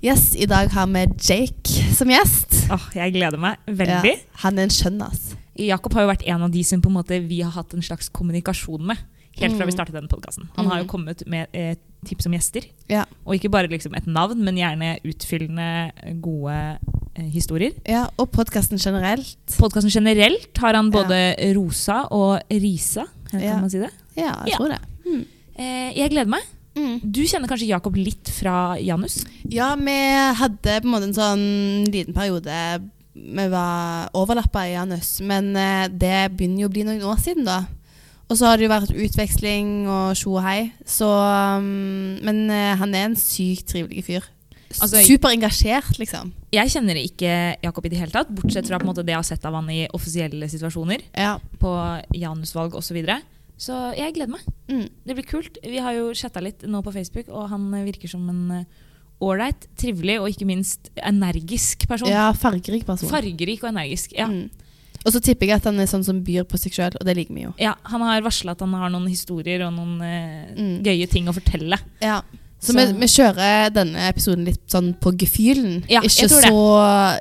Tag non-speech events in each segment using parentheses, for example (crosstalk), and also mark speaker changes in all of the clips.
Speaker 1: Yes, I dag har vi Jake som gjest.
Speaker 2: Åh, jeg gleder meg veldig.
Speaker 1: Ja, han er en skjønn, ass.
Speaker 2: Jakob har jo vært en av de som på en måte vi har hatt en slags kommunikasjon med. Helt fra vi startet denne podkasten. Han har jo kommet med eh, tips om gjester.
Speaker 1: Ja.
Speaker 2: Og ikke bare liksom et navn, men gjerne utfyllende, gode eh, historier.
Speaker 1: Ja, og podkasten generelt.
Speaker 2: Podkasten generelt har han både rosa og risa. Kan
Speaker 1: Ja.
Speaker 2: man si det?
Speaker 1: Ja, jeg
Speaker 2: Ja.
Speaker 1: tror det. Mm.
Speaker 2: Eh, jeg gleder meg.
Speaker 1: Mm.
Speaker 2: Du kjenner kanskje Jakob litt fra Janus?
Speaker 1: Ja, vi hadde på en måte en sånn liten periode vi var overlappa i Janus, men eh, det begynner jo å bli noen år siden, da. Og så har det jo vært utveksling og tjo og hei, så um, Men eh, han er en sykt trivelig fyr.
Speaker 2: Altså,
Speaker 1: Superengasjert, liksom.
Speaker 2: Jeg kjenner ikke Jakob i det hele tatt, bortsett fra på en måte det jeg har sett av han i offisielle situasjoner.
Speaker 1: Ja.
Speaker 2: på Janusvalg osv. Så, videre. så jeg gleder meg.
Speaker 1: Mm.
Speaker 2: Det blir kult. Vi har jo chatta litt nå på Facebook, og han eh, virker som en eh, ålreit, trivelig og ikke minst energisk person.
Speaker 1: ja, fargerik person.
Speaker 2: Fargerik og energisk. Ja.
Speaker 1: Mm. Og så tipper jeg at han er sånn som byr på seg sjøl, og det liker vi jo.
Speaker 2: Ja, han har varsla at han har noen historier og noen eh,
Speaker 1: Mm.
Speaker 2: gøye ting å fortelle.
Speaker 1: Ja. Så,
Speaker 2: Så-
Speaker 1: vi, vi kjører denne episoden litt sånn på gefühlen.
Speaker 2: Ja, jeg
Speaker 1: ikke,
Speaker 2: tror det.
Speaker 1: så,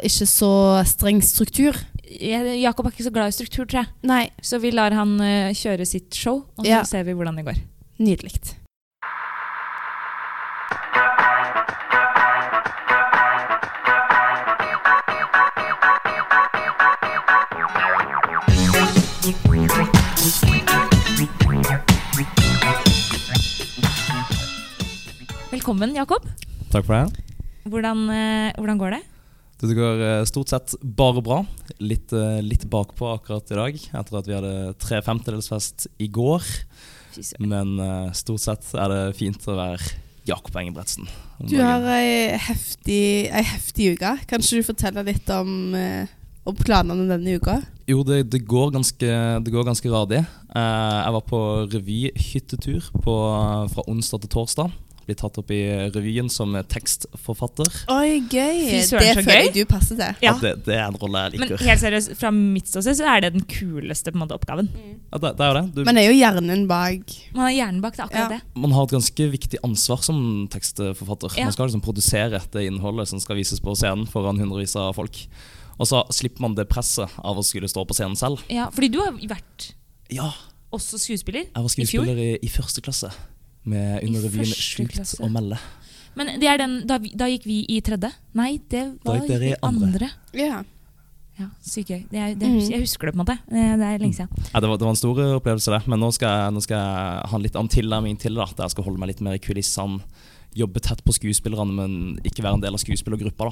Speaker 1: ikke så streng struktur.
Speaker 2: Jeg, Jakob er ikke så glad i struktur, tror jeg.
Speaker 1: Nei.
Speaker 2: Så vi lar han eh, kjøre sitt show, og så
Speaker 1: Ja.
Speaker 2: ser vi hvordan det går.
Speaker 1: Nydelig.
Speaker 2: Velkommen, Jakob.
Speaker 3: Takk for det.
Speaker 2: Hvordan, eh, hvordan går det?
Speaker 3: Det går eh, stort sett bare bra. Litt, eh, litt bakpå akkurat i dag, etter at vi hadde tre femtedelsfest i går.
Speaker 2: Fy søren.
Speaker 3: Men eh, stort sett er det fint å være Jakob Engebretsen. om
Speaker 4: Du har
Speaker 3: dagen.
Speaker 4: ei heftig, ei heftig uke. Kan ikke du fortelle litt om, eh, om planene denne uka?
Speaker 3: Jo, det, det, går ganske, det går ganske radig. Eh, jeg var på revyhyttetur på- eh, fra onsdag til torsdag. Blir tatt opp i revyen som tekstforfatter.
Speaker 4: Oi,
Speaker 2: Fy
Speaker 4: gøy!
Speaker 2: søren,
Speaker 4: det føler
Speaker 2: så gøy.
Speaker 4: jeg du passer til.
Speaker 2: Ja.
Speaker 3: At det, det er en rolle jeg
Speaker 2: Men
Speaker 3: liker.
Speaker 2: helt seriøst, fra mitt ståsted så er det den kuleste på en måte, oppgaven.
Speaker 3: Ja, det, det er jo det. Du,
Speaker 4: Men det er jo hjernen bak.
Speaker 2: Man har hjernen bak det, er akkurat
Speaker 4: Ja.
Speaker 2: det.
Speaker 3: man har et ganske viktig ansvar som tekstforfatter.
Speaker 2: Ja.
Speaker 3: Man skal liksom produsere det innholdet som skal vises på scenen foran hundrevis av folk. Og så slipper man det presset av å skulle stå på scenen selv.
Speaker 2: Ja, fordi du har vært
Speaker 3: Ja,
Speaker 2: også skuespiller
Speaker 3: jeg var
Speaker 2: i fjor.
Speaker 3: skuespiller i, i første klasse med
Speaker 2: I
Speaker 3: under revyen
Speaker 2: første
Speaker 3: Sjukt
Speaker 2: klasse.
Speaker 3: å melde.
Speaker 2: Men det er den, da, vi, da gikk vi i tredje. Nei, det var
Speaker 3: gikk dere
Speaker 2: vi
Speaker 3: i andre.
Speaker 4: Ja.
Speaker 2: Ja, Sykt gøy. Det er, det, er-
Speaker 4: Mm.
Speaker 2: Jeg husker det på en måte. Eh, Det er lenge siden.
Speaker 3: Ja, det, var, det var en stor opplevelse, det. Men nå skal jeg, nå skal jeg ha en litt annen tilnærming til det. At jeg skal holde meg litt mer i kulissene. Jobbe tett på skuespillerne, men ikke være en del av skuespillergruppa. da.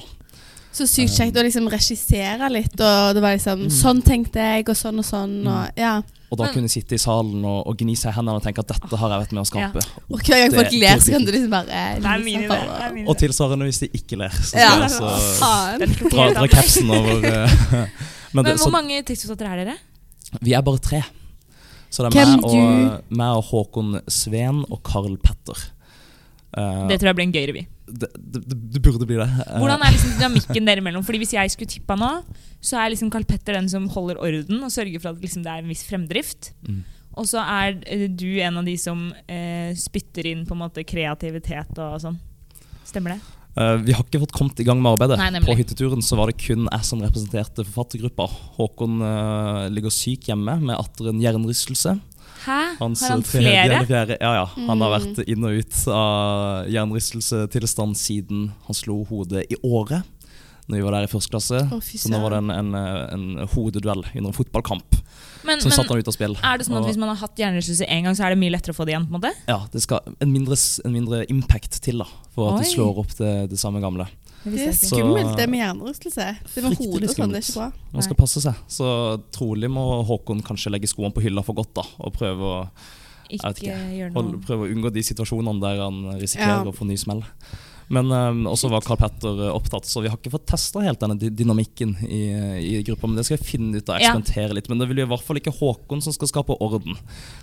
Speaker 4: Så sykt kjekt å liksom regissere litt, og det var liksom Sånn tenkte jeg, og sånn og sånn, og ja.
Speaker 3: Og da
Speaker 2: Men-
Speaker 3: kunne sitte i salen og, og gni seg i hendene og tenke at dette har jeg vært med å skape.
Speaker 4: Og hver gang
Speaker 3: Det-
Speaker 4: folk ler, så kan du
Speaker 3: det-
Speaker 4: liksom bare
Speaker 3: Og tilsvarende hvis de ikke ler. Så skal
Speaker 4: Ja.
Speaker 3: jeg også-
Speaker 4: Faen.
Speaker 3: dra, dra kapsen over eh, (laughs) Men,
Speaker 2: Men
Speaker 3: det,
Speaker 2: hvor
Speaker 3: så,
Speaker 2: mange tekstforfattere er dere?
Speaker 3: vi er bare tre. Så det er
Speaker 4: Hvem
Speaker 3: meg og, meg og Håkon Sveen og Carl Petter. Eh,
Speaker 2: Det tror jeg blir en gøy revy.
Speaker 3: det, det, det burde bli det. Eh,
Speaker 2: Hvordan er liksom dynamikken dere imellom? Fordi Hvis jeg skulle tippa nå, så er liksom Carl Petter den som holder orden og sørger for at liksom det er en viss fremdrift.
Speaker 3: Mm.
Speaker 2: Og så er eh, du en av de som eh, spytter inn på en måte kreativitet og sånn. Stemmer det?
Speaker 3: Eh, vi har ikke fått kommet i gang med arbeidet.
Speaker 2: Nei, nemlig.
Speaker 3: På hytteturen så var det kun jeg som representerte forfattergruppa. Håkon eh, ligger syk hjemme med atter en hjernerystelse.
Speaker 2: Hæ?
Speaker 3: Hans eh,
Speaker 2: Har han
Speaker 3: tredje
Speaker 2: flere?
Speaker 3: eller fjerde Ja, ja. Han har
Speaker 4: Mm.
Speaker 3: vært inn og ut av jernristelsetilstand siden han slo hodet i året Når vi var der i første klasse.
Speaker 4: Å, fy
Speaker 3: Så nå var det
Speaker 4: søren.
Speaker 3: en, en, en eh, hodeduell under en fotballkamp
Speaker 2: Men,
Speaker 3: som satte
Speaker 2: men
Speaker 3: han ut av spill.
Speaker 2: er det sånn at
Speaker 3: Og-
Speaker 2: hvis man har hatt hjernerystelse én gang, så er det mye lettere å få det igjen? på en måte?
Speaker 3: Ja, det skal en mindre, s- en mindre impact til da, for at
Speaker 2: Oi.
Speaker 3: du slår opp det, det samme gamle.
Speaker 4: Det er
Speaker 3: Så-
Speaker 4: skummelt, det med hjernerystelse. Det med
Speaker 3: Fryktelig
Speaker 4: hodet og sånn, det er
Speaker 3: skummelt.
Speaker 4: ikke bra.
Speaker 3: Man skal
Speaker 2: Nei.
Speaker 3: passe seg. Så trolig må Håkon kanskje legge skoene på hylla for godt da, og prøve å,
Speaker 2: Ikke,
Speaker 3: vet ikke.
Speaker 2: gjør
Speaker 3: holde,
Speaker 2: noe.
Speaker 3: prøve å unngå de situasjonene der han risikerer
Speaker 4: Ja.
Speaker 3: å få ny smell. Men um, også var Carl Petter opptatt, så vi har ikke fått testa helt denne dy- dynamikken i, i gruppa. Men det skal jeg finne ut og
Speaker 2: Ja.
Speaker 3: eksperimentere litt. Men det blir i hvert fall ikke Håkon som skal skape orden.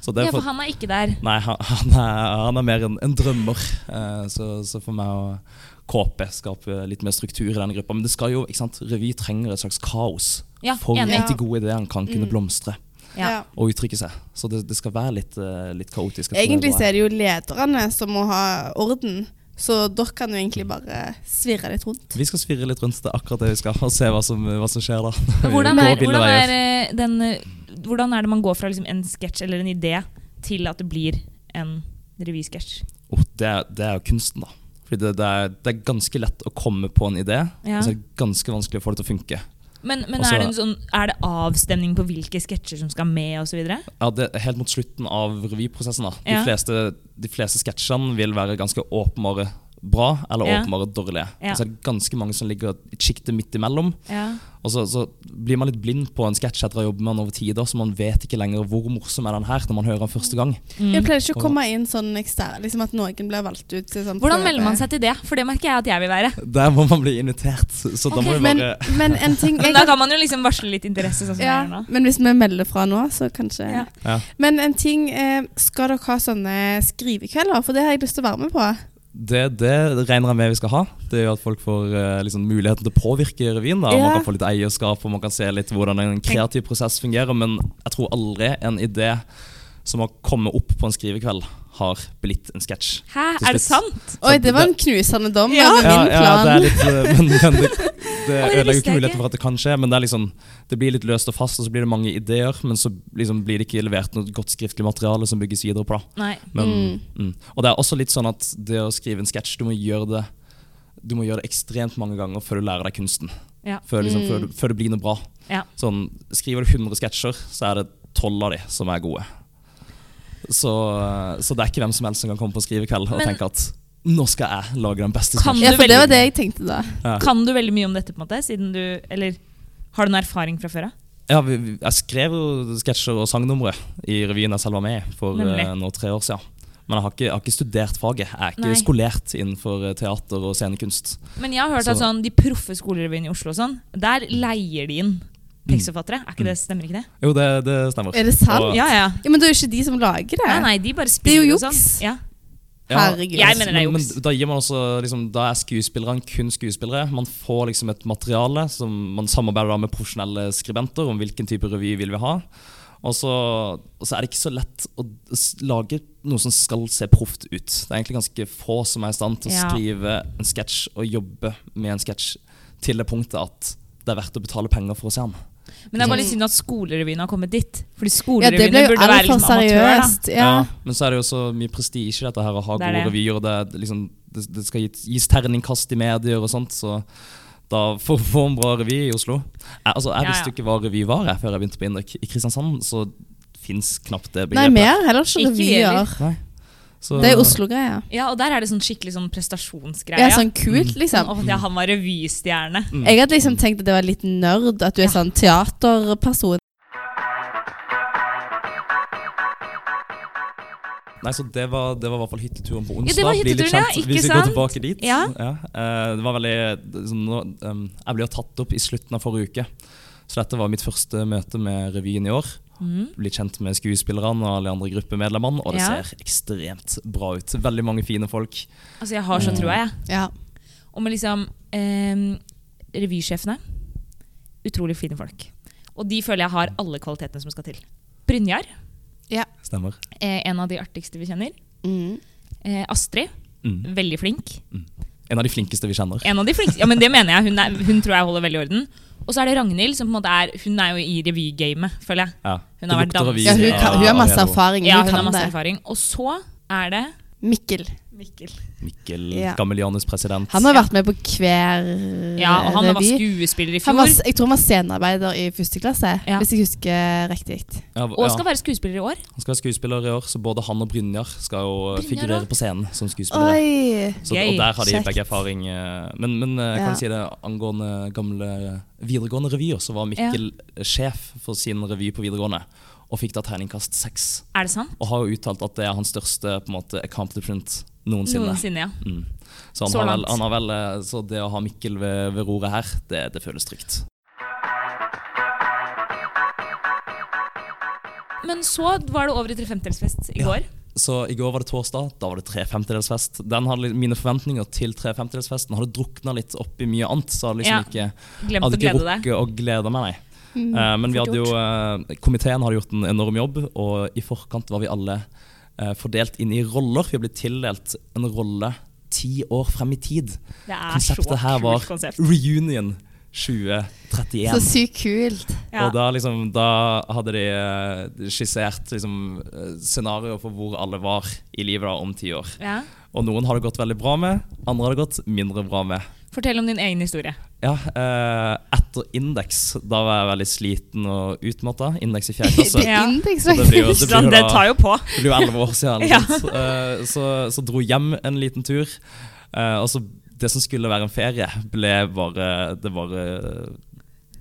Speaker 3: Så det
Speaker 2: Ja,
Speaker 3: er
Speaker 2: for
Speaker 3: for,
Speaker 2: han er ikke der.
Speaker 3: nei, han, han, er, han er mer en, en drømmer. Eh, så, så for meg å KP skape litt mer struktur i denne gruppa. Men det skal jo, ikke sant, revy trenger et slags kaos
Speaker 2: Ja,
Speaker 3: for
Speaker 2: enig.
Speaker 3: at de gode ideene kan kunne
Speaker 4: Mm.
Speaker 3: blomstre
Speaker 2: Ja.
Speaker 4: Ja.
Speaker 3: og uttrykke seg. Så det, det skal være litt, eh, litt kaotisk. Jeg tror det er
Speaker 4: Egentlig
Speaker 3: bra.
Speaker 4: så er det jo lederne som må ha orden. Så dere kan jo egentlig bare svirre litt rundt.
Speaker 3: Vi skal svirre litt rundt det er akkurat det vi skal, og se hva som, hva som skjer da. når vi
Speaker 2: Hvordan
Speaker 3: går
Speaker 2: er,
Speaker 3: ville
Speaker 2: hvordan,
Speaker 3: veier.
Speaker 2: er, eh, den, eh, hvordan er det man går fra liksom, en sketsj eller en idé til at det blir en revysketsj?
Speaker 3: Oh, det, er- det er jo kunsten, da. Fordi det, det, er, det er ganske lett å komme på en idé,
Speaker 2: Ja.
Speaker 3: og så er det ganske vanskelig å få det til å funke.
Speaker 2: Men, men
Speaker 3: Altså-
Speaker 2: er, det en sånn, er det avstemning på hvilke sketsjer som skal med osv.?
Speaker 3: Ja, det, er helt mot slutten av revyprosessen. da. De
Speaker 2: Ja.
Speaker 3: fleste, de fleste sketsjene vil være ganske åpenbare bra eller
Speaker 2: Ja.
Speaker 3: åpenbare dårlige.
Speaker 2: Ja.
Speaker 3: Og Så er det ganske mange som ligger i et sjikte midt imellom.
Speaker 2: Ja.
Speaker 3: Og så, så blir man litt blind på en sketsj etter å ha jobbet med den over tid, da, så man vet ikke lenger hvor morsom er den her når man hører den første gang.
Speaker 4: Jeg
Speaker 2: Mm.
Speaker 4: pleier ikke å komme inn sånn ekstern, liksom at noen blir valgt ut til sånn
Speaker 2: Hvordan
Speaker 4: prøve.
Speaker 2: melder man seg til det? For det merker jeg at jeg vil være.
Speaker 3: Der må man bli invitert, så da må vi
Speaker 4: Men,
Speaker 3: bare
Speaker 4: men en ting jeg
Speaker 2: (laughs) Men da kan man jo liksom varsle litt interesse. sånn som jeg gjør
Speaker 4: ja,
Speaker 2: nå.
Speaker 4: Men hvis vi melder fra nå, så kanskje
Speaker 2: Ja.
Speaker 3: Ja.
Speaker 4: Men en ting eh, Skal dere ha sånne skrivekvelder? For det har jeg lyst til å være med på.
Speaker 3: Det, det regner jeg med vi skal ha. Det gjør at folk får eh, liksom, muligheten til å påvirke revyen. Da. Man
Speaker 4: Ja.
Speaker 3: kan få litt eierskap og man kan se litt hvordan en kreativ prosess fungerer. Men jeg tror aldri en idé som har kommet opp på en skrivekveld, har blitt en sketsj.
Speaker 2: Hæ,
Speaker 3: Til
Speaker 2: er det
Speaker 3: slutt.
Speaker 2: sant?
Speaker 4: Oi, det var
Speaker 3: det-
Speaker 4: en knusende dom
Speaker 2: Sånn Ja.
Speaker 4: over
Speaker 3: Ja,
Speaker 4: min
Speaker 3: ja,
Speaker 4: plan.
Speaker 3: det er litt, eh, men, men det, det
Speaker 2: Å, det
Speaker 3: ødelegger
Speaker 2: visste
Speaker 3: ikke
Speaker 2: jeg
Speaker 3: muligheten
Speaker 2: ikke.
Speaker 3: for at det kan skje. Men det, er liksom, det blir litt løst og fast, og så blir det mange ideer. Men så liksom, blir det ikke levert noe godt skriftlig materiale som bygges videre på. da.
Speaker 2: Nei.
Speaker 3: Men, mm. Og det er også litt sånn at det å skrive en sketsj, du må gjøre det du må gjøre det ekstremt mange ganger før du lærer deg kunsten.
Speaker 2: Ja.
Speaker 3: Før, liksom,
Speaker 4: Mm.
Speaker 3: før, du, før det blir noe bra.
Speaker 2: Ja.
Speaker 3: Sånn, skriver du 100 sketsjer, så er det 12 av de som er gode. Så, så det er ikke hvem som helst som kan komme på skrivekveld og
Speaker 2: Men-
Speaker 3: tenke at nå skal jeg lage den beste
Speaker 2: Kan
Speaker 3: sketsjen.
Speaker 4: Ja,
Speaker 2: du
Speaker 4: for det
Speaker 2: velge-
Speaker 4: var det jeg tenkte da.
Speaker 3: Ja.
Speaker 2: Kan du veldig mye om dette? på en måte? Siden du, eller har du noen erfaring fra før av?
Speaker 3: Ja, vi- vi- jeg skrev jo sketsjer og sangnumre i revyen jeg selv var med i for
Speaker 2: Nemlig.
Speaker 3: eh, nå tre år siden. Men jeg har ikke, jeg har ikke studert faget. Jeg er ikke
Speaker 2: Nei.
Speaker 3: skolert innenfor eh, teater og scenekunst.
Speaker 2: Men jeg har hørt at
Speaker 3: Så-
Speaker 2: sånn, de proffe skolerevyene i Oslo og sånn, der leier de inn tekstforfattere. Er ikke det, stemmer ikke det?
Speaker 3: Jo, det, det stemmer.
Speaker 4: Er det sant?
Speaker 3: Og-
Speaker 2: Ja, ja.
Speaker 4: Ja, Men det er jo ikke de som lager det.
Speaker 2: Nei, nei, de bare
Speaker 4: Det er
Speaker 2: spiller
Speaker 4: jo
Speaker 2: og sånn.
Speaker 4: juks.
Speaker 2: Ja.
Speaker 4: Herregud.
Speaker 2: Jeg mener det er
Speaker 3: men,
Speaker 2: juks.
Speaker 3: men da, gir man også, liksom, da er skuespillerne kun skuespillere. Man får liksom et materiale som man samarbeider da med profesjonelle skribenter om hvilken type revy vil vi ha. Og så, og så er det ikke så lett å s- lage noe som skal se proft ut. Det er egentlig ganske få som er i stand til å
Speaker 2: Ja.
Speaker 3: skrive en sketsj og jobbe med en sketsj til det punktet at det er verdt å betale penger for å se den.
Speaker 2: Men det er bare litt
Speaker 4: Mm.
Speaker 2: synd at skolerevyene har kommet dit. Fordi
Speaker 4: Ja, det ble
Speaker 2: skolerevyene
Speaker 4: jo
Speaker 2: burde være
Speaker 4: altfor
Speaker 2: liksom amatør. Da.
Speaker 4: seriøst. Ja.
Speaker 3: Men så er det jo så mye prestisje i dette her, å ha
Speaker 2: Det er
Speaker 3: gode
Speaker 2: det.
Speaker 3: revyer. Det, er liksom, det, det skal gis, gis terningkast i medier og sånt, så da for å få en bra revy i Oslo Jeg, altså, jeg
Speaker 2: Ja, ja.
Speaker 3: visste jo ikke hva revy var jeg, før jeg begynte på Indrek. I Kristiansand så fins knapt det
Speaker 4: Nei,
Speaker 3: begrepet.
Speaker 4: vi har heller ikke
Speaker 2: Ikke vi heller.
Speaker 4: revyer.
Speaker 3: Så-
Speaker 4: Det er Oslo-greia.
Speaker 2: Ja, Mm. og der er det sånn skikkelig sånn prestasjonsgreie.
Speaker 4: Ja, sånn kult, liksom.
Speaker 2: Åh, ja, han var revystjerne.
Speaker 3: Mm.
Speaker 4: Jeg hadde liksom tenkt at det var litt nerd, at du er sånn teaterperson.
Speaker 3: Nei, så det var, det var i hvert fall hytteturen på
Speaker 2: Ja,
Speaker 3: onsdag.
Speaker 2: det var
Speaker 3: Bli litt
Speaker 2: hytteturen, ja,
Speaker 3: kjent.
Speaker 2: ikke
Speaker 3: Hvis vi går
Speaker 2: sant?
Speaker 3: tilbake dit.
Speaker 2: Ja.
Speaker 3: eh, det var veldig sånn, nå, ehm, Jeg ble jo tatt opp i slutten av forrige uke, så dette var mitt første møte med revyen i år.
Speaker 2: Mm.
Speaker 3: bli kjent med skuespillerne og alle andre gruppemedlemmene, og det
Speaker 2: Ja.
Speaker 3: ser ekstremt bra ut. Veldig mange fine folk.
Speaker 2: Altså, jeg har så troa, jeg.
Speaker 4: Ja.
Speaker 2: Og med liksom eh, revysjefene Utrolig fine folk. Og de føler jeg har alle kvalitetene som skal til. Brynjar,
Speaker 3: Stemmer.
Speaker 2: eh, en av de artigste vi kjenner.
Speaker 4: Mm.
Speaker 2: Eh, Astrid,
Speaker 3: Mm.
Speaker 2: veldig flink.
Speaker 3: En av de flinkeste vi kjenner.
Speaker 2: En av de flinkeste. Ja, men det mener jeg. Hun, er, hun tror jeg holder veldig orden. Og så er det Ragnhild, som på en måte er Hun er jo i revygamet, føler jeg.
Speaker 3: Ja.
Speaker 2: Hun
Speaker 3: Det
Speaker 2: har vært
Speaker 3: lukter eh,
Speaker 2: dans-
Speaker 3: revy
Speaker 4: Ja, hun, kan, hun har
Speaker 3: av-
Speaker 4: masse
Speaker 3: av-
Speaker 4: erfaring.
Speaker 2: Ja,
Speaker 4: Hun
Speaker 2: hun har
Speaker 4: kan
Speaker 2: masse
Speaker 4: det.
Speaker 2: erfaring. Og så er det
Speaker 4: Mikkel.
Speaker 2: Mikkel.
Speaker 3: Mikkel
Speaker 4: Ja.
Speaker 3: gammel Janus president.
Speaker 4: Han har vært med på hver
Speaker 2: Ja, og han var
Speaker 4: revy.
Speaker 2: skuespiller i
Speaker 4: Han var,
Speaker 2: fjor.
Speaker 4: jeg tror han var scenearbeider i første klasse,
Speaker 2: Ja.
Speaker 4: hvis jeg husker riktig.
Speaker 3: ja,
Speaker 2: Og
Speaker 3: ja.
Speaker 2: skal være skuespiller i år.
Speaker 3: Han skal være skuespiller i år, så både han og Brynjar skal jo
Speaker 2: Brynjar
Speaker 3: figurere
Speaker 2: også?
Speaker 3: på scenen som skuespillere.
Speaker 4: Oi!
Speaker 3: Så,
Speaker 2: Gøy,
Speaker 3: og der har de
Speaker 4: kjekt.
Speaker 3: begge erfaring. eh, Men, men eh, kan
Speaker 4: Ja.
Speaker 3: jeg si det angående gamle videregående revyer, så var Mikkel sjef for sin revy på videregående og fikk da terningkast seks.
Speaker 2: Er det sant?
Speaker 3: Og har jo uttalt at det er hans største på en måte, accomplishment noensinne.
Speaker 2: Noensinne, ja.
Speaker 3: Mm. Så, han
Speaker 2: Så
Speaker 3: har vel,
Speaker 2: langt.
Speaker 3: han har vel, eh, så det å ha Mikkel ved, ved roret her, det, det føles trygt.
Speaker 2: Men så var det over i trefemtelsfest i
Speaker 3: Ja.
Speaker 2: går.
Speaker 3: Så i går var det torsdag, da var det tre femtedelsfest. Den hadde litt- Mine forventninger til tre femtedelsfesten hadde drukna litt opp i mye annet. Så hadde liksom ikke,
Speaker 2: Glemt
Speaker 3: hadde
Speaker 2: å
Speaker 3: ikke
Speaker 2: glede deg.
Speaker 3: rukket å glede meg, nei.
Speaker 4: Mm.
Speaker 3: Eh, men vi
Speaker 2: fort
Speaker 3: hadde jo, eh, komiteen hadde gjort en enorm jobb, og i forkant var vi alle eh, fordelt inn i roller. Vi ble tildelt en rolle ti år frem i tid.
Speaker 2: Det er så
Speaker 3: Konseptet her var
Speaker 2: kult konsept.
Speaker 3: Reunion
Speaker 1: Så
Speaker 3: 2031.
Speaker 1: sykt kult.
Speaker 2: Ja.
Speaker 3: Og da, liksom, da hadde de eh, skissert liksom, eh, scenarioer for hvor alle var i livet da, om ti år.
Speaker 2: Ja.
Speaker 3: Og noen har det gått veldig bra med, andre har det gått mindre bra med.
Speaker 2: Fortell om din egen historie.
Speaker 3: Ja, eh, etter indeks, da var jeg veldig sliten og utmatta. Indeks
Speaker 1: (laughs)
Speaker 3: i fjerde
Speaker 1: Det
Speaker 3: klasse.
Speaker 1: er
Speaker 2: Ja.
Speaker 1: indeks,
Speaker 3: Så det blir jo-
Speaker 1: faktisk.
Speaker 3: det blir jo
Speaker 2: det
Speaker 3: da-
Speaker 2: tar jo på.
Speaker 3: Det ble jo elleve år siden.
Speaker 2: Ja.
Speaker 3: eller noe sånt. Eh, så, så dro hjem en liten tur. eh, og så det som skulle være en ferie, ble bare Det, bare,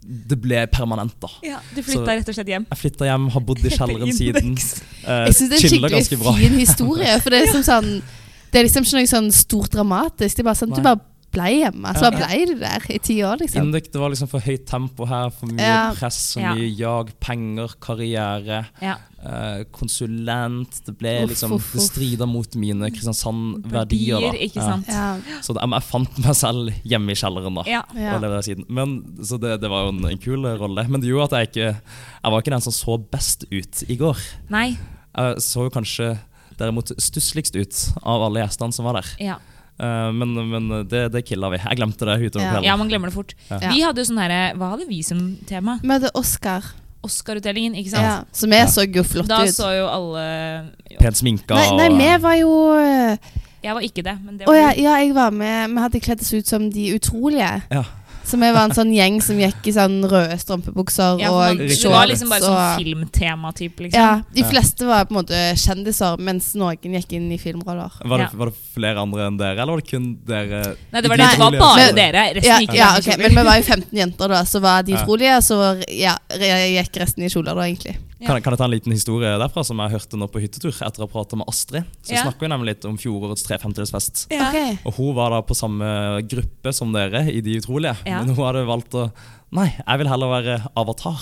Speaker 3: det ble permanent, da.
Speaker 2: du
Speaker 3: flyttet
Speaker 2: flytta rett og slett hjem.
Speaker 3: Jeg flytta hjem, har bodd i kjelleren siden. Uh,
Speaker 1: Jeg syns det er en skikkelig fin historie. For
Speaker 2: (laughs)
Speaker 1: det er liksom sånn Det er liksom ikke noe sånn stort dramatisk. Det er bare sånn, Du
Speaker 3: Nei.
Speaker 1: bare ble hjemme. Så
Speaker 3: Ja.
Speaker 1: bare ble du der i ti år, liksom.
Speaker 3: Induk, det var liksom for høyt tempo her, for mye
Speaker 1: Ja.
Speaker 3: press, for
Speaker 2: Ja.
Speaker 3: mye jag, penger, karriere.
Speaker 2: Ja.
Speaker 3: eh, konsulent. Det ble
Speaker 1: Uff,
Speaker 3: liksom
Speaker 1: uff,
Speaker 3: Det
Speaker 1: uff.
Speaker 3: strider mot mine Kristiansand-verdier. Mm, da.
Speaker 2: Verdier, ikke
Speaker 3: Ja.
Speaker 2: sant.
Speaker 1: Ja.
Speaker 3: Så da- men jeg fant meg selv hjemme i kjelleren, da.
Speaker 2: Ja.
Speaker 1: Ja.
Speaker 3: Og levde der siden. Men, så det, det var jo en, en kul rolle. Men det gjorde at jeg ikke Jeg var ikke den som så best ut i går.
Speaker 2: Nei.
Speaker 3: Jeg så jo kanskje derimot stussligst ut av alle gjestene som var der.
Speaker 2: Ja.
Speaker 3: Eh, men men det, det killa vi. Jeg glemte det utover
Speaker 1: Ja.
Speaker 3: kvelden.
Speaker 2: ja, man glemmer det fort.
Speaker 3: Ja.
Speaker 2: Vi hadde jo sånn herre Hva hadde vi som tema?
Speaker 1: Møtte Oscar.
Speaker 2: Oscar-utdelingen, ikke sant?
Speaker 1: Ja. Så vi
Speaker 3: Ja.
Speaker 1: så jo flott
Speaker 2: Da
Speaker 1: ut.
Speaker 2: så jo alle
Speaker 3: Pent sminka
Speaker 1: Nei, nei,
Speaker 3: og
Speaker 1: vi var jo øh,
Speaker 2: Jeg var ikke det, men det
Speaker 1: Å
Speaker 2: var
Speaker 1: ja, ja, jeg var med. Vi hadde kledd oss ut som De utrolige.
Speaker 3: Ja.
Speaker 1: Så vi var en sånn gjeng som gikk i sånn røde strømpebukser
Speaker 2: Ja, for man,
Speaker 1: og
Speaker 2: det
Speaker 1: shorts.
Speaker 2: var liksom bare sånn
Speaker 1: og,
Speaker 2: filmtema-type, liksom.
Speaker 1: ja, de
Speaker 3: Ja.
Speaker 1: fleste var på en måte kjendiser, mens noen gikk inn i filmroller.
Speaker 3: var, det,
Speaker 2: Ja.
Speaker 3: var det flere andre enn dere, eller var det kun dere?
Speaker 2: Nei, det var,
Speaker 3: De
Speaker 2: det, det var
Speaker 3: utrolige
Speaker 2: bare
Speaker 3: også.
Speaker 2: dere. Resten
Speaker 1: Ja,
Speaker 2: gikk i
Speaker 1: ja,
Speaker 2: lange
Speaker 1: ok,
Speaker 2: kjoler.
Speaker 1: Men vi var jo 15 jenter, da, så var de
Speaker 3: Ja.
Speaker 1: utrolige. Så var, ja, re- gikk resten i kjoler, da, egentlig.
Speaker 2: Ja.
Speaker 3: Kan, kan jeg ta en liten historie derfra som jeg hørte nå på hyttetur etter å ha pratet med Astrid? Så
Speaker 2: Ja.
Speaker 3: snakker vi nemlig litt om fjorårets
Speaker 2: (laughs)
Speaker 3: trefemtedelsfest.
Speaker 2: Ja.
Speaker 1: Ok.
Speaker 3: Og hun var da på samme gruppe som dere i De utrolige,
Speaker 2: Ja.
Speaker 3: men hun hadde valgt å Nei, jeg vil heller være avatar.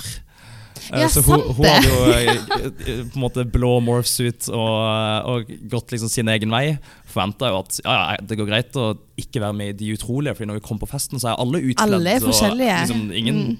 Speaker 3: Eh,
Speaker 1: Ja,
Speaker 3: så hun,
Speaker 1: sant
Speaker 3: hun
Speaker 1: det.
Speaker 3: hadde jo eh, eh, på en måte blå morphsuit og, og gått liksom sin egen vei. Forventa jo at ja, ja, det går greit å ikke være med i De utrolige, Fordi når vi kom på festen, så er alle utkledd.
Speaker 1: Alle er forskjellige. Mm.
Speaker 3: Og, liksom, ingen,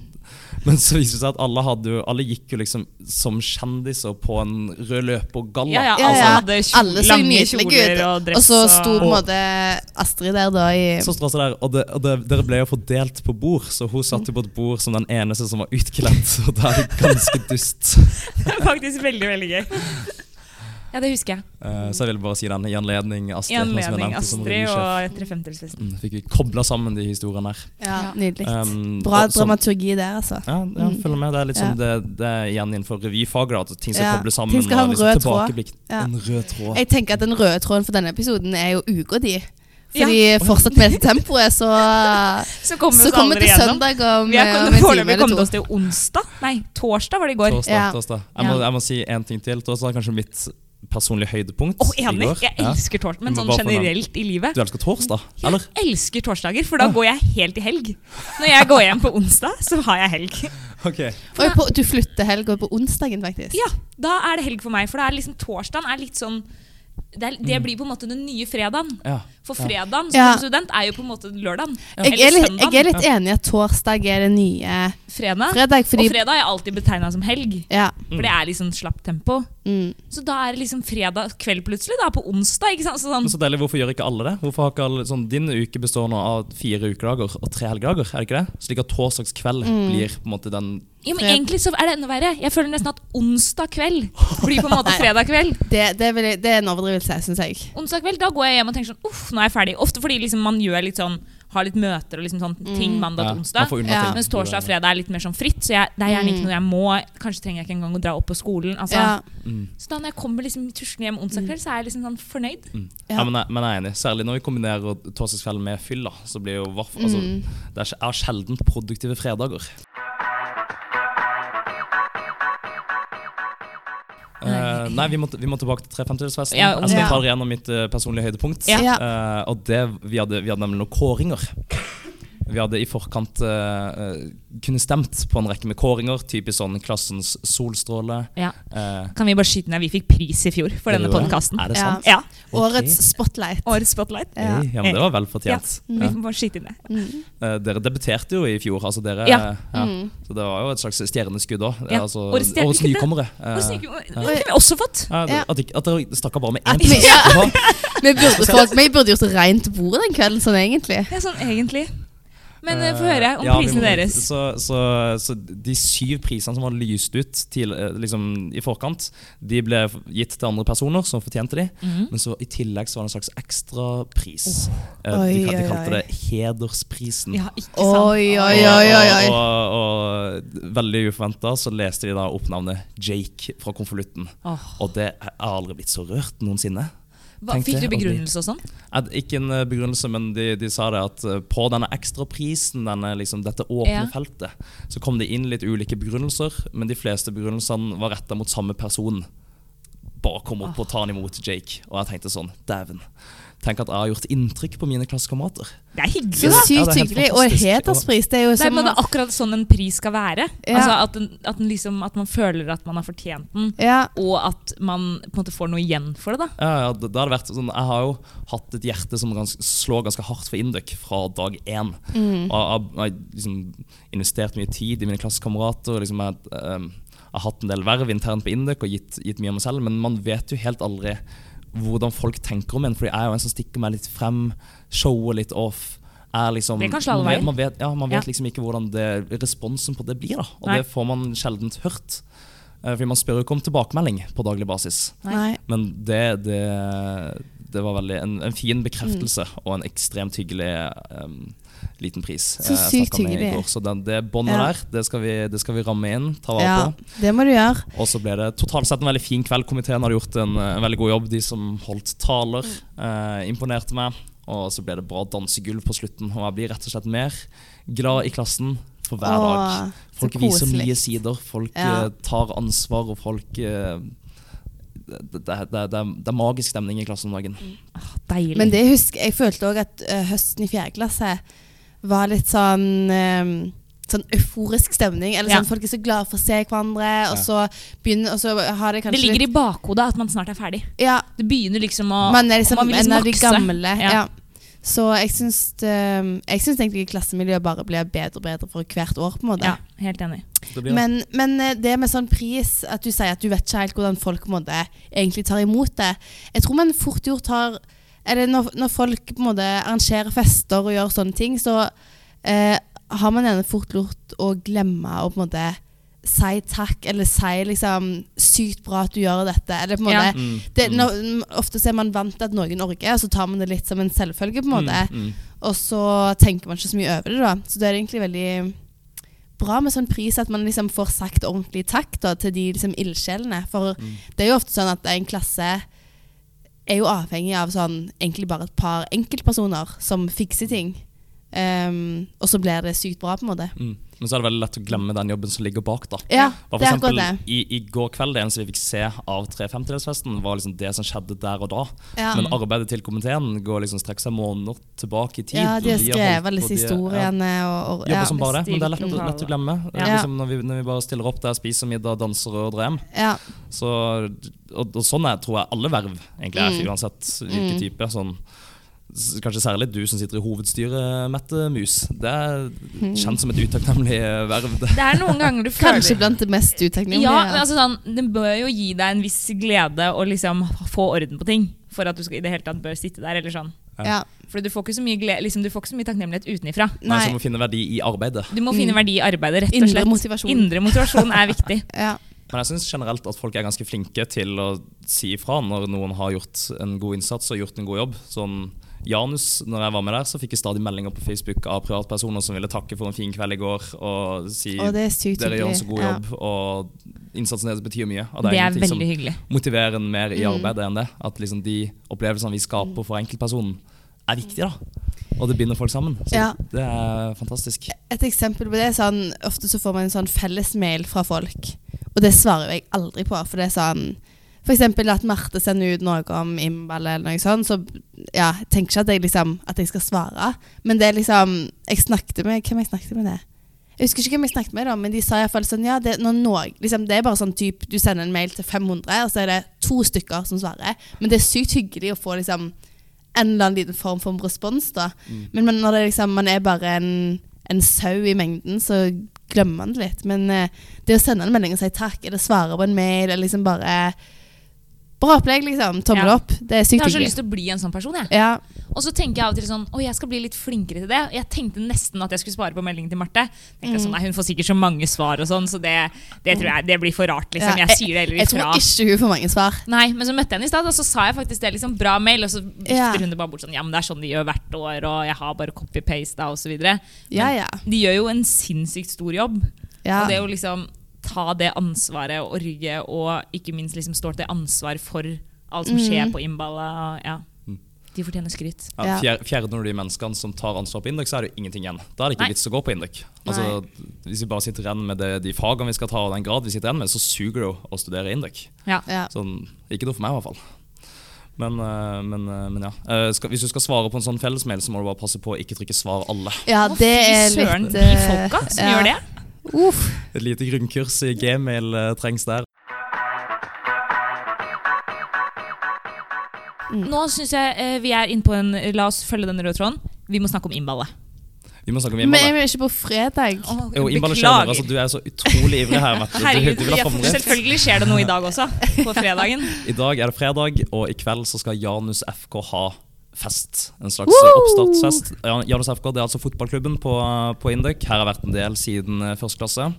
Speaker 3: Men så viste det seg at alle, hadde, jo- alle gikk jo liksom som kjendiser på en rød løpergalla.
Speaker 2: Ja, ja,
Speaker 1: Ja,
Speaker 2: alle
Speaker 3: Altså,
Speaker 1: ja.
Speaker 2: hadde kjol,
Speaker 1: Alle så
Speaker 2: lange
Speaker 1: nydelige
Speaker 2: kjoler
Speaker 1: ut.
Speaker 2: og dress.
Speaker 1: Og så sto på en
Speaker 3: og-
Speaker 1: måte Astrid der, da, i
Speaker 3: Så står Sånn det der, og, det, og det, Dere ble jo fordelt på bord, så hun satt jo på et bord som den eneste som var utkledd. Og da er det ganske dust.
Speaker 2: Faktisk veldig, veldig gøy. Ja, det husker jeg.
Speaker 3: Eh, så jeg ville bare si den i anledning
Speaker 2: I
Speaker 3: Astrid.
Speaker 2: anledning
Speaker 3: som
Speaker 2: Astrid
Speaker 3: jeg nevnte som revysjef.
Speaker 2: og 350-festen.
Speaker 3: Mm, Fikk vi kobla sammen de historiene her.
Speaker 1: Ja, Nydelig.
Speaker 3: Um,
Speaker 1: Bra
Speaker 3: og som-
Speaker 1: dramaturgi der, altså.
Speaker 3: Ja, ja
Speaker 1: Mm.
Speaker 3: følg med. Det er litt sånn det, det er igjen innenfor revyfaget. da, At ting skal
Speaker 1: Ja,
Speaker 3: kobles sammen.
Speaker 1: ting skal ha en
Speaker 3: og liksom
Speaker 1: rød tråd.
Speaker 3: tilbakeblikk.
Speaker 1: Ja.
Speaker 3: En rød tråd.
Speaker 1: Jeg tenker at den røde tråden for denne episoden er jo uka di.
Speaker 2: Ja.
Speaker 1: Fordi fortsatt med dette tempoet, så,
Speaker 2: Så kommer vi
Speaker 1: så
Speaker 2: oss
Speaker 1: kommer
Speaker 2: aldri
Speaker 1: det
Speaker 2: gjennom.
Speaker 1: søndag om,
Speaker 2: Vi har
Speaker 1: eh,
Speaker 2: kommet-
Speaker 1: om en time
Speaker 2: foreløpig
Speaker 1: eller
Speaker 2: kommet
Speaker 1: to.
Speaker 2: oss til onsdag. Nei, torsdag var det i går.
Speaker 3: Torsdag,
Speaker 1: Ja.
Speaker 3: torsdag. Jeg,
Speaker 2: Ja.
Speaker 3: må, jeg må si én ting til. Torsdag er kanskje mitt personlige høydepunkt.
Speaker 2: Å,
Speaker 3: i
Speaker 2: enig!
Speaker 3: går.
Speaker 2: Jeg
Speaker 3: Ja.
Speaker 2: elsker torsdag, men
Speaker 3: Men
Speaker 2: sånn
Speaker 3: hva for noe?
Speaker 2: generelt i livet.
Speaker 3: Du elsker torsdag,
Speaker 1: (laughs)
Speaker 3: eller?
Speaker 2: Elsker torsdager, for da går jeg helt i helg. Når jeg går hjem på onsdag, så har jeg helg.
Speaker 3: Ok.
Speaker 1: Oi, på, du flytter helga på onsdagen, faktisk.
Speaker 2: Ja, da er det helg for meg, for da er liksom torsdagen er litt sånn det, er, det blir på en måte den nye fredagen.
Speaker 3: Mm. Ja.
Speaker 2: For fredagen som
Speaker 1: Ja.
Speaker 2: student er jo på en måte lørdagen.
Speaker 1: Jeg er, litt,
Speaker 2: søndagen.
Speaker 1: jeg er litt enig i at torsdag er det nye
Speaker 2: Fredag.
Speaker 1: fredag, fordi
Speaker 2: Og fredag har jeg alltid betegna som helg,
Speaker 1: ja,
Speaker 2: for
Speaker 3: Mm.
Speaker 2: det er liksom slapt tempo.
Speaker 1: mm.
Speaker 2: Så da er det liksom fredag kveld plutselig, da, på onsdag. ikke sant? Så sånn,
Speaker 3: Men så deilig, Hvorfor gjør ikke alle det? Hvorfor har ikke alle, sånn, Din uke består nå av fire ukedager og tre helgedager, er det ikke det? Slik at torsdagskveld blir på en måte den
Speaker 2: ja, men
Speaker 1: fred-
Speaker 2: egentlig så er det enda verre. Jeg føler nesten at onsdag kveld blir på en
Speaker 3: (laughs)
Speaker 2: måte fredag kveld.
Speaker 1: det, det, vil jeg, det er en overdrivelse, syns jeg.
Speaker 2: Onsdag kveld, da går jeg hjem og tenker sånn Uff, nå er jeg ferdig. Ofte fordi liksom man gjør litt sånn har litt møter og liksom sånn ting mandag
Speaker 3: Mm. Ja,
Speaker 2: til
Speaker 3: man
Speaker 2: onsdag.
Speaker 3: får Mm. unna
Speaker 1: Ja.
Speaker 3: ting.
Speaker 2: Mens torsdag og fredag er litt mer sånn fritt, så jeg, det er gjerne ikke noe jeg må. Kanskje trenger jeg ikke engang å dra opp på skolen. Altså.
Speaker 1: Ja.
Speaker 3: Mm,
Speaker 2: Så da når jeg kommer liksom tuslende hjem onsdag kveld, så er jeg liksom sånn fornøyd.
Speaker 3: mm. Ja. men, jeg, men jeg er enig. Særlig når vi kombinerer torsdagskvelden med fylla. Så blir jo vaff,
Speaker 1: Mm.
Speaker 3: altså, Det er, jeg har sjelden produktive fredager. Eh, nei, vi må, vi må tilbake til trefemtedelsfesten.
Speaker 2: Ja,
Speaker 3: jeg skal
Speaker 1: ja.
Speaker 3: ta dere gjennom mitt eh, personlige høydepunkt.
Speaker 2: Ja.
Speaker 1: Ja.
Speaker 3: Eh, og det, vi, hadde, vi hadde nemlig noen kåringer. Vi hadde i forkant eh, eh, kunne stemt på en rekke med kåringer, typisk sånn klassens solstråle.
Speaker 2: Ja.
Speaker 3: eh,
Speaker 2: Kan vi bare skyte ned? Vi fikk pris i fjor for
Speaker 3: Er
Speaker 2: denne
Speaker 3: det det?
Speaker 2: podkasten.
Speaker 3: Er det
Speaker 1: Ja.
Speaker 3: sant?
Speaker 2: Ja.
Speaker 1: Årets spotlight.
Speaker 2: Årets spotlight.
Speaker 1: Ja.
Speaker 3: Hey, ja, men det var vel fortjent.
Speaker 2: Vi får bare skyte inn det.
Speaker 1: Mm.
Speaker 3: Eh, dere debuterte jo i fjor, altså dere
Speaker 2: Ja.
Speaker 3: ja.
Speaker 1: Mm.
Speaker 3: Så det var jo et slags stjerneskudd òg.
Speaker 2: Ja,
Speaker 3: Altså,
Speaker 2: årets
Speaker 3: årets,
Speaker 2: stjerne-
Speaker 3: nykommere.
Speaker 2: Og
Speaker 3: Eh,
Speaker 2: snikker- Det kunne vi også fått.
Speaker 3: ja,
Speaker 1: Ja.
Speaker 3: At, ikke- at dere stakk av bare med
Speaker 1: At
Speaker 3: én
Speaker 1: vi-
Speaker 3: plass.
Speaker 1: ja.
Speaker 3: etterpå.
Speaker 1: Vi burde, fått, vi burde gjort rent bord den kvelden, sånn egentlig.
Speaker 2: Det er sånn egentlig. (laughs) Men eh, få
Speaker 3: Eh,
Speaker 2: høre om
Speaker 3: ja, vi
Speaker 2: prisene
Speaker 3: må-
Speaker 2: deres.
Speaker 3: Så, så, så de syv prisene som var lyst ut til, eh, liksom, i forkant, de ble f- gitt til andre personer som fortjente de. Men så i tillegg så var det en slags ekstrapris. Eh, de,
Speaker 1: Oi,
Speaker 3: kal- de
Speaker 1: oi,
Speaker 3: kalte
Speaker 1: oi.
Speaker 3: det hedersprisen.
Speaker 2: Ja, ikke sant.
Speaker 1: Oi, oi, oi, oi. oi.
Speaker 3: Og, og, og, og veldig uforventa så leste de da opp navnet Jake fra konvolutten.
Speaker 2: Åh.
Speaker 3: Og det jeg har aldri blitt så rørt noensinne.
Speaker 2: Hva, fikk du
Speaker 3: tenkte jeg aldri.
Speaker 2: begrunnelse og sånn?
Speaker 3: At, ikke en eh, begrunnelse, men de, de sa det at eh, på denne ekstraprisen, denne, liksom, dette åpne
Speaker 2: Ja.
Speaker 3: feltet, så kom det inn litt ulike begrunnelser, men de fleste begrunnelsene var retta mot samme person. Bare kom opp og ta han imot Jake. Og jeg tenkte sånn, dæven. Tenk at jeg har gjort inntrykk på mine klassekamerater.
Speaker 2: Det er hyggelig,
Speaker 1: Så
Speaker 2: da.
Speaker 3: Ja,
Speaker 1: sykt
Speaker 3: det er helt
Speaker 1: hyggelig. Og
Speaker 3: fantastisk.
Speaker 1: hederspris, det er jo
Speaker 2: Nei,
Speaker 1: som
Speaker 2: men det er akkurat sånn en pris skal være.
Speaker 1: Ja.
Speaker 2: Altså at, den, at, den liksom, at man føler at man har fortjent den,
Speaker 1: ja.
Speaker 2: og at man på en måte får noe igjen for det. da.
Speaker 3: Ja, ja, det, det hadde vært sånn, Jeg har jo hatt et hjerte som gans, slår ganske hardt for Induc fra dag én.
Speaker 1: Mm.
Speaker 3: Og jeg jeg har liksom investert mye tid i mine klassekamerater. og Liksom jeg, ehm, jeg har hatt en del verv internt på Induc og gitt, gitt mye av meg selv, men man vet jo helt aldri hvordan folk tenker om en. Fordi jeg er jo en som stikker meg litt frem, shower litt off. Er liksom,
Speaker 2: Det kan slå alle
Speaker 3: man
Speaker 2: veier.
Speaker 3: vet- Man vet, ja, man vet
Speaker 2: Ja.
Speaker 3: liksom ikke hvordan det, responsen på det blir, da. og
Speaker 2: Nei.
Speaker 3: det får man sjelden hørt. Eh, Fordi man spør jo ikke om tilbakemelding på daglig basis.
Speaker 1: Nei.
Speaker 3: Men det, det, det var veldig en, en fin bekreftelse
Speaker 1: Mm.
Speaker 3: og en ekstremt hyggelig em, liten pris.
Speaker 1: Så
Speaker 3: Jeg
Speaker 1: sykt
Speaker 3: snakket med i
Speaker 1: hyggelig.
Speaker 3: går, Så den, det båndet
Speaker 1: Ja.
Speaker 3: der, det skal, vi, det skal vi ramme inn, ta vare
Speaker 1: Ja,
Speaker 3: på.
Speaker 1: det må du gjøre.
Speaker 3: Og så ble det totalt sett en veldig fin kveld. Komiteen hadde gjort en, eh, veldig god jobb. De som holdt taler,
Speaker 1: Mm.
Speaker 3: eh, imponerte meg. Og så ble det bra dansegulv på slutten. Og jeg blir rett og slett mer glad i klassen for hver dag.
Speaker 1: Åh, så
Speaker 3: Folk viser
Speaker 1: koselig.
Speaker 3: nye sider, folk
Speaker 1: Ja.
Speaker 3: eh, tar ansvar, og folk eh, det, det, det, det er- det er magisk stemning i klassen om dagen.
Speaker 1: Mm.
Speaker 2: Deilig.
Speaker 1: Men det husker, jeg følte òg at eh, høsten i fjerde klasse var litt sånn eh, Sånn euforisk stemning. Eller
Speaker 2: Ja.
Speaker 1: sånn, Folk er så glade for å se hverandre, og så begynner Og så har det
Speaker 2: Det
Speaker 1: kanskje
Speaker 2: ligger i bakhodet at man snart er ferdig.
Speaker 1: litt Ja,
Speaker 2: Det begynner liksom å
Speaker 1: man er liksom,
Speaker 2: man vil liksom
Speaker 1: en av de
Speaker 2: makse.
Speaker 1: gamle.
Speaker 2: Ja.
Speaker 1: Ja. Så jeg syns, eh, jeg syns egentlig klassemiljøet bare blir bedre og bedre for hvert år, på en måte.
Speaker 2: Ja, helt enig.
Speaker 3: Det blir det.
Speaker 1: Men, men eh, det med sånn pris, at du sier at du vet ikke helt hvordan folk på en måte, egentlig tar imot det. Jeg tror man fort gjort har eller når, når folk på en måte arrangerer fester og gjør sånne ting, så eh, har man gjerne fort lurt å glemme å på en måte si takk, eller si liksom sykt bra at du gjør dette. Eller på en
Speaker 2: Ja.
Speaker 1: måte
Speaker 3: Mm,
Speaker 1: eh, det,
Speaker 3: mm,
Speaker 1: når, Ofte så er man vant til at noen orker, så tar man det litt som en selvfølge, på en måte.
Speaker 3: mm, mm.
Speaker 1: Og så tenker man ikke så mye over det, da. Så det er egentlig veldig bra med sånn pris at man liksom får sagt ordentlig takk da, til de liksom ildsjelene. For
Speaker 3: Mm.
Speaker 1: det er jo ofte sånn at en klasse er jo avhengig av sånn egentlig bare et par enkeltpersoner som fikser ting. Ehm, og så blir det sykt bra, på en måte.
Speaker 3: Mm. Men så er det veldig lett å glemme den jobben som ligger bak, da.
Speaker 1: Ja, det
Speaker 3: Bare for
Speaker 1: er akkurat
Speaker 3: eksempel,
Speaker 1: det.
Speaker 3: i, I går kveld, det eneste vi fikk se av 350-delsfesten, var liksom det som skjedde der og da.
Speaker 1: Ja.
Speaker 3: Men arbeidet til komiteen går liksom strekker seg måneder tilbake i tid.
Speaker 1: Ja, de har
Speaker 3: holdt
Speaker 1: skrevet
Speaker 3: på,
Speaker 1: alle disse
Speaker 3: de- ja.
Speaker 1: historiene og, og
Speaker 3: Jobber
Speaker 1: ja,
Speaker 3: som bare det, men det er lett,
Speaker 2: bestilt
Speaker 3: lett å glemme.
Speaker 2: Ja.
Speaker 3: Liksom når, vi, når vi bare stiller opp der, spiser middag, danser og drar hjem.
Speaker 1: ja,
Speaker 3: Så, og, og sånn er, tror jeg alle verv egentlig
Speaker 1: Mm.
Speaker 3: er, uansett hvilken type. Sånn, s- kanskje særlig du som sitter i hovedstyret, Mette Mus. Det er
Speaker 1: Mm.
Speaker 3: kjent som et utakknemlig verv. Det.
Speaker 2: Det er noen ganger
Speaker 1: (laughs)
Speaker 2: du føler
Speaker 1: Kanskje blant det mest utakknemlige.
Speaker 2: Ja, men altså sånn, Den bør jo gi deg en viss glede å liksom få orden på ting for at du skal, i det hele tatt bør sitte der. eller sånn.
Speaker 1: ja.
Speaker 2: For du får ikke så mye, glede, liksom, du får ikke så mye takknemlighet utenifra.
Speaker 3: Nei,
Speaker 1: Nei.
Speaker 3: som å finne verdi i arbeidet.
Speaker 2: Du må finne verdi i arbeidet, rett og
Speaker 1: Mm. Indre
Speaker 2: slett.
Speaker 1: motivasjon.
Speaker 2: Indre motivasjon er
Speaker 1: (laughs)
Speaker 2: viktig.
Speaker 1: Ja.
Speaker 3: Men jeg syns generelt at folk er ganske flinke til å si ifra når noen har gjort en god innsats og gjort en god jobb. Sånn Janus, når jeg var med der, så fikk jeg stadig meldinger på Facebook av privatpersoner som ville takke for en fin kveld i går og si
Speaker 1: Og det er sykt
Speaker 3: dere gjør en
Speaker 1: hyggelig.
Speaker 3: så god
Speaker 1: Ja.
Speaker 3: jobb, og innsatsen deres betyr mye. Og
Speaker 2: Det er sånn.
Speaker 3: ingenting
Speaker 2: veldig hyggelig.
Speaker 3: som motiverer en mer i
Speaker 1: Mm.
Speaker 3: arbeidet enn det. At liksom de opplevelsene vi skaper for enkeltpersonen, er viktige, da. Og det binder folk sammen. Så
Speaker 1: Ja.
Speaker 3: det er fantastisk.
Speaker 1: Et eksempel på det er sånn Ofte så får man en sånn fellesmail fra folk, og det svarer jo jeg aldri på, for det er sånn For eksempel at Marte sender ut noe om Imbal eller noe sånt, så ja, jeg tenker ikke at jeg, liksom, at jeg skal svare. Men det er liksom Jeg snakket med Hvem jeg snakket med det? Jeg husker ikke hvem jeg snakket med, da, men de sa iallfall sånn Ja, det, når noe, liksom, det er bare sånn typ Du sender en mail til 500, og så er det to stykker som svarer. Men det er sykt hyggelig å få liksom en eller annen liten form for respons, da.
Speaker 3: Mm.
Speaker 1: Men man, når det er liksom, man er bare en, en sau i mengden, så glemmer man det litt. Men eh, det å sende en melding og si takk, eller svare på en mail, eller liksom bare Bra opplegg, liksom. Tommel
Speaker 2: Ja.
Speaker 1: opp. Det er
Speaker 2: Jeg
Speaker 1: sykt
Speaker 2: har så
Speaker 1: hyggelig.
Speaker 2: lyst til å bli en sånn person. Jeg.
Speaker 1: Ja.
Speaker 2: Og så tenker jeg av og til sånn Å, jeg skal bli litt flinkere til det. Jeg tenkte nesten at jeg skulle svare på meldingen til Marte. Tenkte
Speaker 1: Mm.
Speaker 2: jeg sånn, nei, Hun får sikkert så mange svar, og sånn, så det, det tror jeg det blir for rart. liksom.
Speaker 1: Ja,
Speaker 2: Jeg sier det heller
Speaker 1: Jeg tror
Speaker 2: ifra.
Speaker 1: ikke hun får mange svar.
Speaker 2: Nei, Men så møtte jeg henne i stad, og så sa jeg faktisk det. liksom, Bra mail. Og så vifter
Speaker 1: Ja.
Speaker 2: hun det bare bort sånn Ja, men det er sånn de gjør hvert år, og jeg har bare copy-pasta, osv.
Speaker 1: Ja, ja.
Speaker 2: De gjør jo en sinnssykt stor jobb.
Speaker 1: ja.
Speaker 2: Og det å liksom ta det ansvaret og orge, og ikke minst liksom stå til ansvar for alt
Speaker 1: Mm.
Speaker 2: som skjer på Imbala. Ja.
Speaker 3: Mm.
Speaker 2: De fortjener skryt.
Speaker 3: Ja,
Speaker 1: Ja.
Speaker 3: fjer- Fjerner du de menneskene som tar ansvar på Induk, så er det jo ingenting igjen. Da er det ikke
Speaker 2: Nei.
Speaker 3: vits å gå på Induk. Altså, hvis vi bare sitter igjen med det, de fagene vi skal ta, og den grad vi sitter igjen med, så suger det jo å studere Induk.
Speaker 2: Ja.
Speaker 1: ja.
Speaker 3: Sånn, ikke noe for meg, i hvert fall. Men, eh, men, eh, men ja. Eh, Skal, hvis du skal svare på en sånn fellesmail, så må du bare passe på å ikke trykke 'svar alle'.
Speaker 1: ja,
Speaker 2: Å,
Speaker 1: det
Speaker 2: fy
Speaker 1: er
Speaker 2: søren,
Speaker 1: litt
Speaker 2: de
Speaker 1: eh,
Speaker 2: folka som
Speaker 1: ja.
Speaker 2: gjør det.
Speaker 1: Uff.
Speaker 3: Et lite grunnkurs i gmail eh, trengs der.
Speaker 2: Nå syns jeg eh, vi er inne på en La oss følge den røde tråden. Vi må snakke om Imbala.
Speaker 3: Vi må snakke om
Speaker 1: Men er
Speaker 3: innballet.
Speaker 1: vi ikke på fredag?
Speaker 3: Jo, innballet skjer nå. Altså, du er så utrolig ivrig her. Mette. Du, du
Speaker 2: Herregud,
Speaker 3: vil ha
Speaker 2: ja, for-
Speaker 3: framdrift.
Speaker 2: selvfølgelig skjer det noe i dag også. På fredagen.
Speaker 3: I dag er det fredag, og i kveld så skal Janus FK ha fest. En slags
Speaker 1: Woo!
Speaker 3: oppstartsfest. Jan- Janus FK det er altså fotballklubben på, på Induk. Her har vært en del siden eh, første klasse.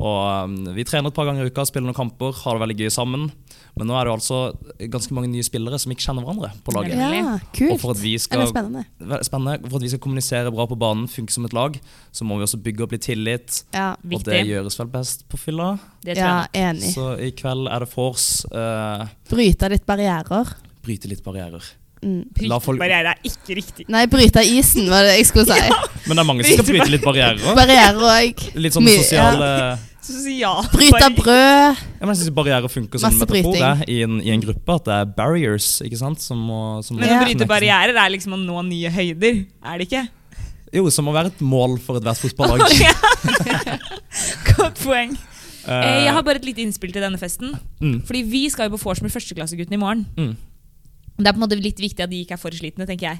Speaker 3: Og um, Vi trener et par ganger i uka, spiller noen kamper, har det veldig gøy sammen. Men nå er det jo altså ganske mange nye spillere som ikke kjenner hverandre på laget.
Speaker 1: Ja,
Speaker 3: Og for
Speaker 1: kult.
Speaker 3: at vi skal
Speaker 1: Eller spennende.
Speaker 3: Vel, Spennende. For at vi skal kommunisere bra på banen, funke som et lag, så må vi også bygge opp litt tillit.
Speaker 1: Ja,
Speaker 3: Og det
Speaker 2: Viktig.
Speaker 3: gjøres vel best på fylla.
Speaker 2: Det tror
Speaker 1: ja
Speaker 2: jeg.
Speaker 1: enig.
Speaker 3: Så i kveld er det vors. eh,
Speaker 1: Bryte litt barrierer.
Speaker 3: bryte litt barrierer.
Speaker 1: Mm.
Speaker 3: La folk-
Speaker 2: Barriere er ikke riktig.
Speaker 1: Nei, bryte isen, var det jeg skulle
Speaker 2: (laughs)
Speaker 1: si.
Speaker 3: Men det er mange som skal bryte litt barrierer.
Speaker 1: Barrierer òg.
Speaker 3: Litt sånn
Speaker 1: Mye,
Speaker 3: sosiale
Speaker 2: Sosial
Speaker 1: Bryte
Speaker 2: barriere.
Speaker 1: brød.
Speaker 3: Jeg mener, jeg synes barrierer funker som en
Speaker 1: Masse
Speaker 3: metafor
Speaker 1: bryting.
Speaker 3: jeg, i, en, i en gruppe. At det er barriers ikke sant? som må, som må
Speaker 2: Men å
Speaker 1: Ja.
Speaker 2: bryte barrierer er liksom å nå nye høyder, er det ikke?
Speaker 3: Jo, som må være et mål for
Speaker 2: (laughs)
Speaker 3: ethvert fotballag.
Speaker 2: Godt poeng. Eh, jeg har bare et lite innspill til denne festen.
Speaker 3: mm,
Speaker 2: Fordi vi skal jo på vors med førsteklasseguttene i morgen.
Speaker 3: mm.
Speaker 2: Det er på en måte litt viktig at de ikke er for slitne, tenker jeg.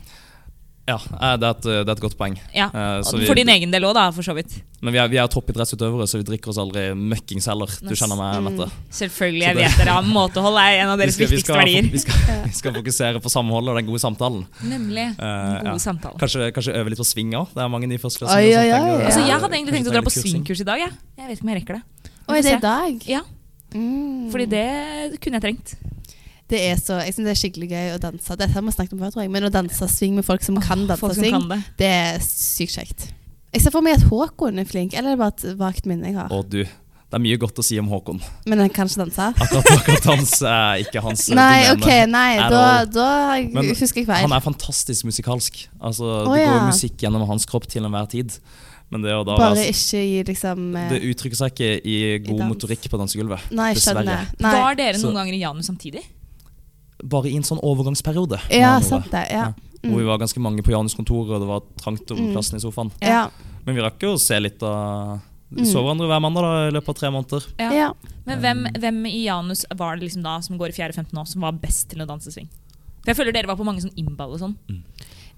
Speaker 3: Ja, eh, det er, et, det er et godt poeng.
Speaker 2: Ja.
Speaker 3: Eh, så
Speaker 2: for
Speaker 3: vi-
Speaker 2: din egen del òg, da, for så vidt.
Speaker 3: Men vi er, vi er toppidrettsutøvere, så vi drikker oss aldri møkkings heller. Du
Speaker 2: Nice.
Speaker 3: kjenner meg, Mette.
Speaker 2: Selvfølgelig.
Speaker 3: Så
Speaker 2: Jeg
Speaker 3: det-
Speaker 2: vet dere har måtehold er en av deres
Speaker 3: vi,
Speaker 2: viktigste
Speaker 3: skal,
Speaker 2: verdier.
Speaker 3: vi,
Speaker 2: (laughs)
Speaker 3: skal, vi skal fokusere på samholdet og den gode samtalen.
Speaker 2: Nemlig.
Speaker 3: Eh,
Speaker 2: Den
Speaker 3: ja.
Speaker 2: gode samtalen.
Speaker 3: Kanskje, kanskje øve litt på sving òg. Det er mange nye
Speaker 1: Oi,
Speaker 3: førsteklassinger. som
Speaker 1: oi, oi.
Speaker 3: trenger å-
Speaker 2: Altså,
Speaker 1: Ja.
Speaker 2: jeg hadde egentlig tenkt å dra på
Speaker 3: Kanskje litt kursing.
Speaker 2: swingkurs i dag. Jeg. jeg vet ikke om jeg rekker det.
Speaker 1: Oi, det er i dag.
Speaker 2: Ja,
Speaker 1: Mm.
Speaker 2: fordi det kunne jeg trengt.
Speaker 1: Det er så, jeg synes det er skikkelig gøy å danse. Dette har vi snakket om før, tror jeg. Men å danse swing med folk som kan danse
Speaker 2: Folk som
Speaker 1: swing,
Speaker 2: kan det.
Speaker 1: det er sykt kjekt. Jeg ser for meg at Håkon er flink, eller er det bare et vagt minne jeg har.
Speaker 3: Og du, det er mye godt å si om Håkon.
Speaker 1: Men han kan ikke danse.
Speaker 3: Akkurat akkurat hans er ikke hans eh,
Speaker 1: Nei,
Speaker 3: domene.
Speaker 1: ok, nei,
Speaker 3: Er
Speaker 1: da,
Speaker 3: det-
Speaker 1: da
Speaker 3: Men
Speaker 1: husker jeg
Speaker 3: Han
Speaker 1: feil.
Speaker 3: er fantastisk musikalsk. Altså,
Speaker 1: Å,
Speaker 3: det går
Speaker 1: ja.
Speaker 3: musikk gjennom hans kropp til enhver tid. Men det, å da,
Speaker 1: Bare
Speaker 3: være-
Speaker 1: ikke gi liksom eh,
Speaker 3: det uttrykker seg ikke i god
Speaker 1: dans.
Speaker 3: motorikk på dansegulvet.
Speaker 1: Nei,
Speaker 3: dessverre.
Speaker 1: skjønner. Nei.
Speaker 2: Var dere
Speaker 3: Så-
Speaker 2: noen ganger i Janus samtidig?
Speaker 3: Bare i en sånn overgangsperiode. med
Speaker 1: Ja,
Speaker 3: andre ord,
Speaker 1: sant Mm. det. Ja.
Speaker 3: Hvor vi var ganske mange på Janus kontor, og det var trangt om
Speaker 1: Mm.
Speaker 3: plassen i sofaen.
Speaker 1: Ja.
Speaker 3: Men vi rakk jo å se litt av
Speaker 1: Mm.
Speaker 3: Vi så hverandre hver mandag da, i løpet av tre måneder.
Speaker 1: ja.
Speaker 2: Men hvem, hvem i Janus var det liksom da som går i 4.-15 nå, som var best til å danse swing? For jeg føler dere var på mange sånn innball og sånn.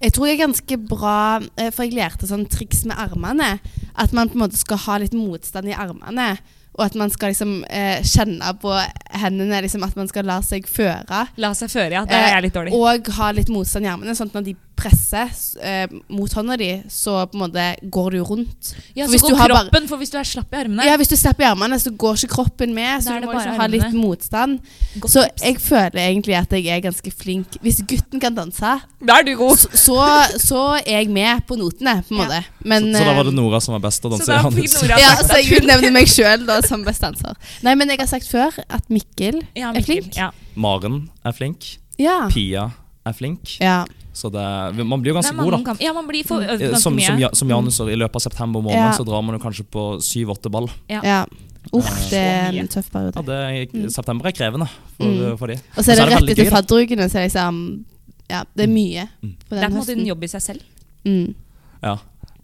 Speaker 1: Jeg tror jeg er ganske bra, eh, for jeg lærte sånn triks med armene. At man på en måte skal ha litt motstand i armene. Og at man skal liksom eh, kjenne på hendene, liksom at man skal la seg føre.
Speaker 2: La seg føre, ja. Der er jeg litt dårlig.
Speaker 1: Eh, og ha litt motstand i armene, sånn at når de presser s- eh, mot hånda di, så på en måte går du rundt.
Speaker 2: Ja,
Speaker 1: for
Speaker 2: så
Speaker 1: hvis
Speaker 2: går
Speaker 1: du har bare-
Speaker 2: kroppen, for hvis du er slapp i armene
Speaker 1: Ja, hvis du slipper i armene, så går ikke kroppen med,
Speaker 2: Da
Speaker 1: så
Speaker 2: er
Speaker 1: du
Speaker 2: det
Speaker 1: må
Speaker 2: bare
Speaker 1: liksom ha litt
Speaker 2: armene.
Speaker 1: motstand.
Speaker 2: Godt
Speaker 1: Så
Speaker 2: tips.
Speaker 1: jeg føler egentlig at jeg er ganske flink. Hvis gutten kan danse,
Speaker 2: Da er du god!
Speaker 1: så, så, så er jeg med på notene, på en
Speaker 2: Ja.
Speaker 1: måte. Men,
Speaker 3: så, så da var det
Speaker 1: eh,
Speaker 3: Nora som var best til å
Speaker 2: Så
Speaker 3: danse
Speaker 2: da
Speaker 3: i
Speaker 2: fikk
Speaker 3: Janus.
Speaker 2: Nora
Speaker 1: ja,
Speaker 2: sagt
Speaker 1: så
Speaker 2: at
Speaker 1: jeg
Speaker 2: hun-
Speaker 1: utnevner meg sjøl som best danser. Nei, men jeg har sagt før at Mikkel
Speaker 2: Ja,
Speaker 1: er
Speaker 2: Mikkel.
Speaker 1: flink.
Speaker 2: Ja.
Speaker 3: Maren er flink.
Speaker 1: Ja.
Speaker 3: Pia er flink.
Speaker 1: ja.
Speaker 3: Så det, man blir jo
Speaker 2: Ah. Det
Speaker 3: ganske
Speaker 2: er
Speaker 3: god, da.
Speaker 2: mange kamp- Ja, man blir for øvd
Speaker 3: Eh,
Speaker 2: ganske
Speaker 3: som,
Speaker 2: mye.
Speaker 3: som, ja, som januser, i løpet av september måned
Speaker 1: Ja.
Speaker 3: så drar man jo kanskje på syv-åtte ball.
Speaker 2: Ja.
Speaker 1: ja. Uff,
Speaker 3: Ja,
Speaker 1: det er
Speaker 2: så mye.
Speaker 1: en tøff periode.
Speaker 3: Ja, det er,
Speaker 1: Mm.
Speaker 3: september er krevende for, eh,
Speaker 1: Mm.
Speaker 3: for de.
Speaker 1: Og så er det
Speaker 3: Og så er det
Speaker 1: rett
Speaker 3: veldig
Speaker 1: etter
Speaker 3: gøy, da.
Speaker 1: fadderukene, så er det liksom Ja, det er mye
Speaker 3: Mm.
Speaker 1: på
Speaker 2: Det er på
Speaker 1: den
Speaker 2: en måte en
Speaker 1: høsten.
Speaker 2: jobb i seg selv.
Speaker 1: Mm.
Speaker 3: Ja.